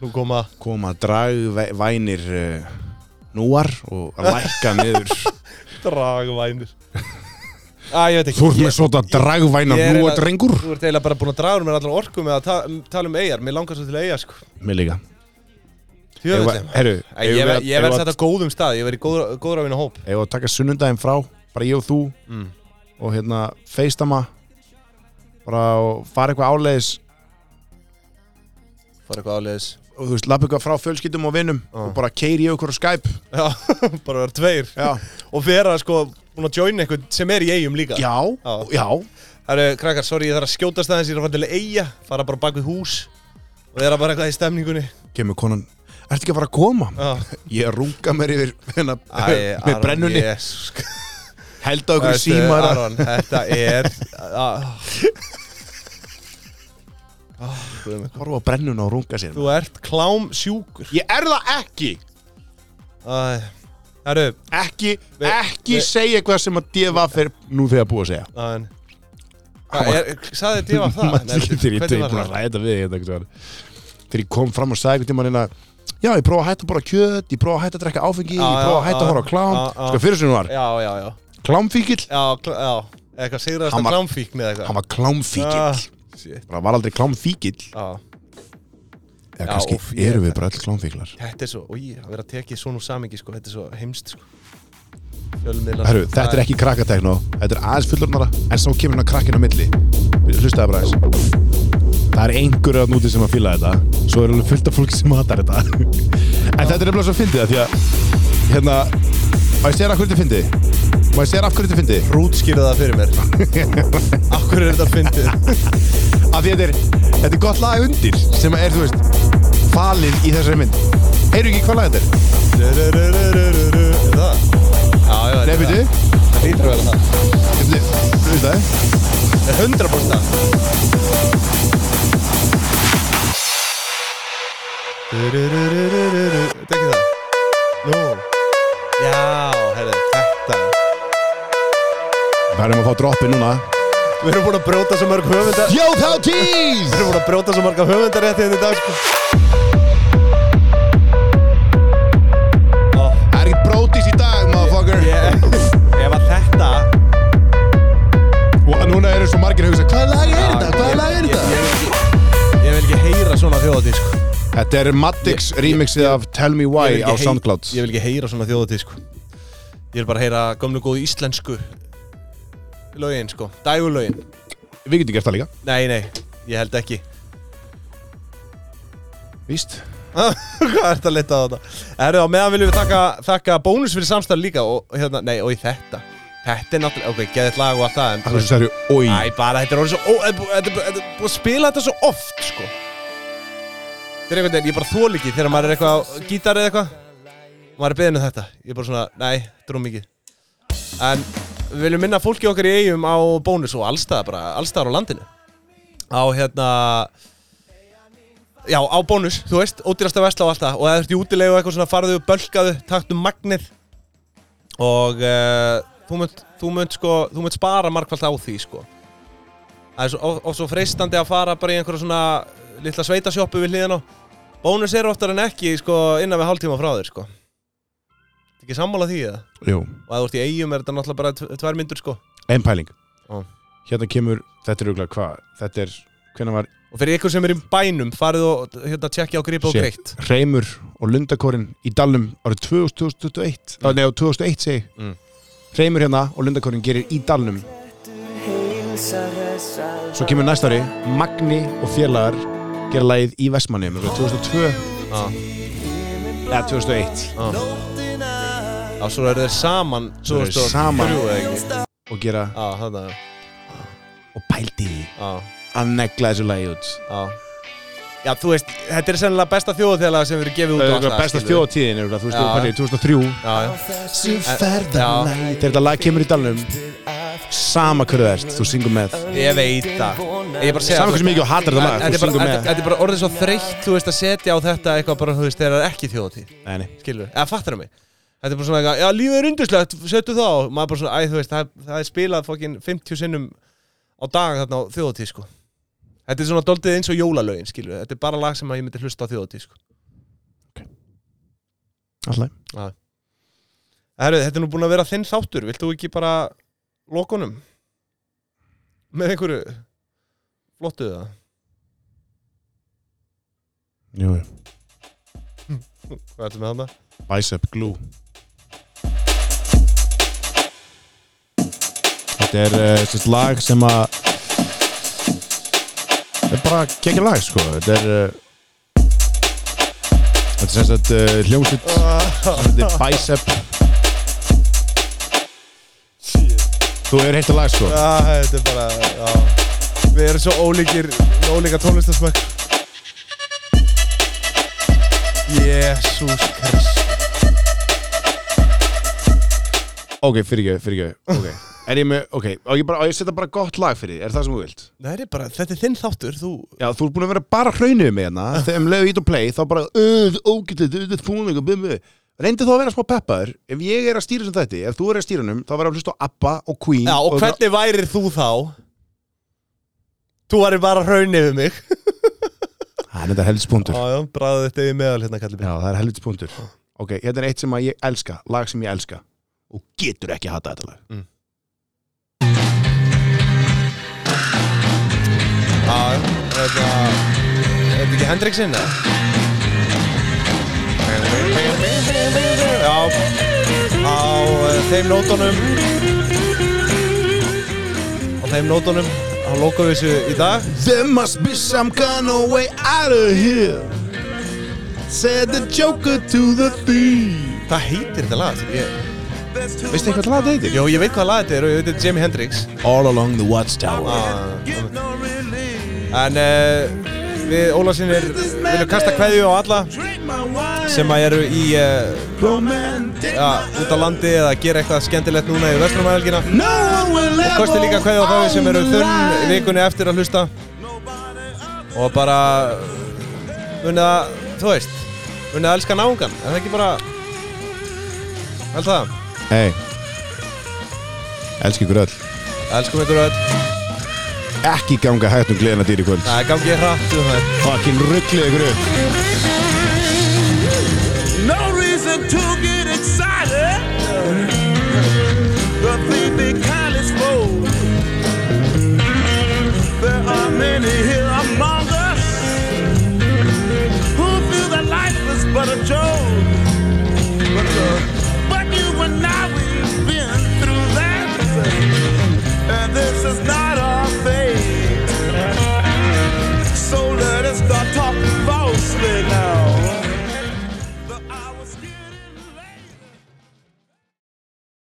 A: Nú koma
B: koma dragvænir uh, núar og að lækka niður
A: dragvænir Æ, ég veit ekki
B: Þú ert með
A: Ég-
B: svona dragvænar
A: ég er
B: núa
A: eiginlega-
B: drengur
A: Þú ert eiginlega bara búin að draga um mér allar orku með að ta tala um eigar Mér langar svo til eigar, sko
B: Mér líka
A: Tjöfnlega
B: Herru,
A: Ég, ég, ver- ég verð þetta á góðum stað, ég verð í góðra, góðra vinna hóp
B: Ef að taka sunnundaginn frá, bara ég og þú
A: Mm.
B: og hérna feistama bara og fara eitthvað áleiðis
A: Fara eitthvað áleiðis
B: og þú veist, lappa eitthvað frá fjölskyldum og vinnum
A: Ah.
B: og bara keiri ég okkur á Skype
A: Já, bara vera tveir
B: Já,
A: Og vera sko, búin að joina eitthvað sem er í eigum líka
B: já,
A: Ah.
B: já
A: Það eru, krakkar, sorry, ég þarf að skjóta staðins, ég er að fara til eiga Fara bara bak við hús Og vera bara eitthvað í stemningunni
B: Kemur konan, ertu ekki að fara að koma?
A: Já.
B: Ég runga mér yfir hérna,
A: Ah. Æ,
B: með brennunni,
A: Jesus.
B: held á okkur
A: Þetta,
B: símara
A: Aron, þetta er ah, Guð minn.
B: horfa á brennuna og runga sér
A: Þú ert klám sjúkur
B: Ég er það ekki
A: Það eru,
B: Ekki,
A: Nei,
B: ekki
A: nei.
B: segja eitthvað sem að DVF er nú þegar búið að segja
A: aðeins Saði þið var það?
B: Maður
A: Nei,
B: líka Þegar ég
A: hvernig
B: ég er
A: var
B: búin
A: það?
B: að ræða við þetta einhvern tímann. Þegar ég kom fram og sagði einhvern tímann hérna, Já, ég prófa að hætta að borða kjöt, ég prófa að hætta að drekka áfengi,
A: Já,
B: ég prófa að
A: já,
B: hætta að
A: já,
B: horfa á klám
A: já, já.
B: Sko fyrir sem hún var,
A: Já, já, já
B: klámfíkil
A: Já, kl- já Eitthvað sigraðast
B: Hann
A: að
B: var-
A: klámfíkn eða eitthvað
B: Hann var klámfíkil,
A: Shit
B: bara var aldrei klámfíkil
A: Já,
B: Eða
A: Já,
B: kannski
A: óf, ég-
B: erum við bara öll klámfíklar
A: þetta er svo Í, að vera að tekið svona úr samingi sko Þetta er svo heimst sko fjölmiðlar
B: Herru, þetta er ekki krakkatekno Þetta er aðeins fullornara En svo kemur hann krakkin á milli Við Hlustaðu bara aðeins Það er einhverju að núti sem að fíla þetta Svo er alveg fullt af fólki sem hatar þetta En þetta er nefnilega svo fyndið það Því að Hérna Má ég segja af hverju þetta er fyndið? Má ég segja af hverju þetta er fyndið?
A: Rútskýra það fyrir mér Akkur er þetta fyndið
B: Af því að þetta er Þetta er gott lag undir Sem er, þú veist Falið í þessari mynd Heyrðu ekki hvað lag þetta er?
A: Rurururururu. Er það? Já, já,
B: Nei,
A: er
B: byrju
A: það Það hlýtur að vera það
B: Byrju, Þú veist það?
A: Það er 100% það Rurururururu. Þetta er ekki það Nú Já, herru, þetta
B: Við erum að fá droppi núna
A: Við erum búin að brjóta svo mörg höfundar Við
B: Þjóðháttíð!
A: erum búin að brjóta svo marga höfundar rétti henni í dag sko. Ó,
B: Það er ekkert brótis í dag, motherfucker
A: Oh, ég- Ef að þetta
B: Og núna eru svo margir að hugsa Hvaða lag er þetta?
A: Já,
B: Hvaða
A: Ah, ég-
B: lag er
A: ég-
B: þetta?
A: Ég vil ekki- ég vil ekki heyra svona þjóðatíð sko.
B: Þetta er Maddix
A: Ég- ég-
B: remixið af Tell Me
A: Ég vil
B: Why
A: ekki
B: á
A: hey-
B: Soundcloud
A: Ég vil ekki heyra svona þjóðatíð sko. Ég vil bara heyra gömlu góðu íslensku lögin sko, dægulögin
B: Við getum gert það líka
A: Nei, nei, ég held ekki
B: Víst
A: Hvað ert að leta á þetta? Herru, á meðan viljum við taka, taka bónus fyrir samstarf líka og hérna, nei, og í þetta Þetta er náttúrulega, ok, geðið lag og allt það en þú
B: Það er
A: veist-
B: svo særju Oi
A: Æ, bara þetta er orðið svo, ó, þetta er bú- þetta er bú- þetta er búið að spila þetta svo oft, sko Þetta er einhvern veginn, ég bara þól ekki þegar maður er eitthvað á gítar eða eitthvað og maður er beðin um þetta, ég er bara svona, nei, drúm ekki En við viljum minna fólki okkar í eigum á bónus og allstaðar bara, allstaðar á landinu Á hérna, já, á bónus, þú veist, ódýrasta vesla og allt það og ef þú ert í útilegu og eitthvað svona farðu, bölkaðu, taktu magnið og uh, þú munt, þú munt sko, þú munt spara markvælt á því sko það er svo, of svo freistandi að fara bara í einhverja svona litla sveitasjoppu við hliðin á bónus eru oftar en ekki sko innan við hálftíma frá þér sko Ertu ekki sammála því eða?
B: Jú
A: og að þú ert í eigum er þetta náttúrulega bara tv- tvær myndur sko
B: Einn pæling
A: Ó.
B: Hérna kemur Þetta er auðvitað hvað Þetta er Hvenær var
A: og fyrir ykkur sem er í bænum farið og hérna tjekkja á gripa og
B: Shit.
A: greitt
B: Reymur og Lundakorin í Dalnum árið 2021 mm. Nei, á 2001 segi mm.
A: Mm.
B: Reymur hérna og Lundakorin gerir í Dalnum Svo kemur næsta ári Magni og félagar gera lagið í Vestmannum 2002
A: Já.
B: Eða 2001
A: og svo eru þeir saman
B: Svo eru þeir
A: 2003
B: saman.
A: eða ekki?
B: og gera
A: á, þarna,
B: og pældi í því
A: á,
B: að negla þessu lagi út
A: á Já, þú veist, þetta er sennilega besta þjóðuþjálega sem verið gefið út á
B: Það er
A: alla,
B: eitthvað besta
A: skilurðu.
B: þjóðtíðin er það, þú veist, þú
A: Já.
B: fannir 2003
A: Já, já.
B: Þessu
A: ferðalagi.
B: Þegar þetta lag kemur í dalnum Sama hverju það ert, þú syngur með
A: Ég veit það Ég er bara að segja
B: Sama hversu mikið og hatar þetta
A: En-
B: lag,
A: en
B: þú
A: Þetta er bara-
B: syngur
A: þetta-
B: með
A: þetta er bara orðið svo þreytt Þú veist að setja á þetta eitthvað bara Þú veist þegar það er ekki þjóðatíð
B: Nei, nei.
A: Skilur Eða fattar það mig Þetta er bara svona eitthvað Já lífið er unduslegt Settu það á Maður bara svona Æ þú veist það, það er spilað fokkin 50 sinnum Á dag þarna á þjóðatíð sko Þetta er svona doldið eins og jólalögin skilur Þetta er bara lag sem að ég myndi hlusta á þjóðatíð sko
B: Allt lagi.
A: Herru þetta er nú búin að vera þinn þáttur Vilt þú ekki bara Lokunum Með einhverju Flottu það
B: Jú, jú.
A: Hvað ertu með þarna?
B: Bicep Glue Þetta er uh, sérst lag sem að Þetta er bara gekkja lag sko Þetta er uh, Þetta er sem sagt uh, hljómsveit Þetta er Bicep Þú hefur heilt að lag sko
A: Já, Ah, þetta er bara, já Við erum svo ólíkir, ólíka tónlistarsmökk Jésús Krist
B: Ok, fyrir ekki, fyrir ekki okay. Er ég með, ok, á ég, bara, á ég að setja bara gott lag fyrir þig Er það sem þú vilt?
A: Þetta er bara, þetta er þinn þáttur, þú
B: Já, þú ert búin að vera bara hraunuð með hérna Þegar um leiðu ít og play, þá bara Öð, ógætið, öð, fúning og bumbu Reyndi þá að vera smá peppaður Ef ég er að stýra sem þetta, ef þú er að stýra hennum Þá verður að hlusta á ABBA og Queen
A: Já, og hvernig værir þú þá? Þú varir bara hraun yfir mig
B: Það er þetta helvits punktur
A: Já,
B: Já,
A: já, bræðu þetta í meðal hérna, kallið mér
B: það er helvits punktur Ok, hérna er eitt sem að ég elska Lag sem ég elska Og getur ekki að hata þetta lag
A: Já, þetta hérna, Er þetta ekki Hendrixinn, eða? Já, á uh, þeim nótunum á þeim nótunum á lokavísu í dag
B: There must be some kind of way out of here Said the joker to the thief
A: Hvað heitir þetta lag? Ég,
B: Veistu eitthvað lag þetta heitir?
A: jó, ég veit hvað lag þetta er og ég veit þetta er Jimi Hendrix Ah,
B: All along the watchtower
A: En uh, við Ólarsinir viljum kasta kveðju á alla sem að eru í uh, ja, út á landi eða gera eitthvað skemmtilegt núna í vestlumælgina og kosti líka kveðju á þau sem eru þunn vikunni eftir að hlusta og bara munið að, þú veist munið að elska náungan, er það ekki bara held það
B: Hei Elsku ykkur öll
A: elskum ykkur öll,
B: Ekki ganga hægt um gleðina dýri kvöld
A: það er gangið hratt um það
B: Fucking ruggli ykkur upp
I: No reason to get excited. The thief
A: uh,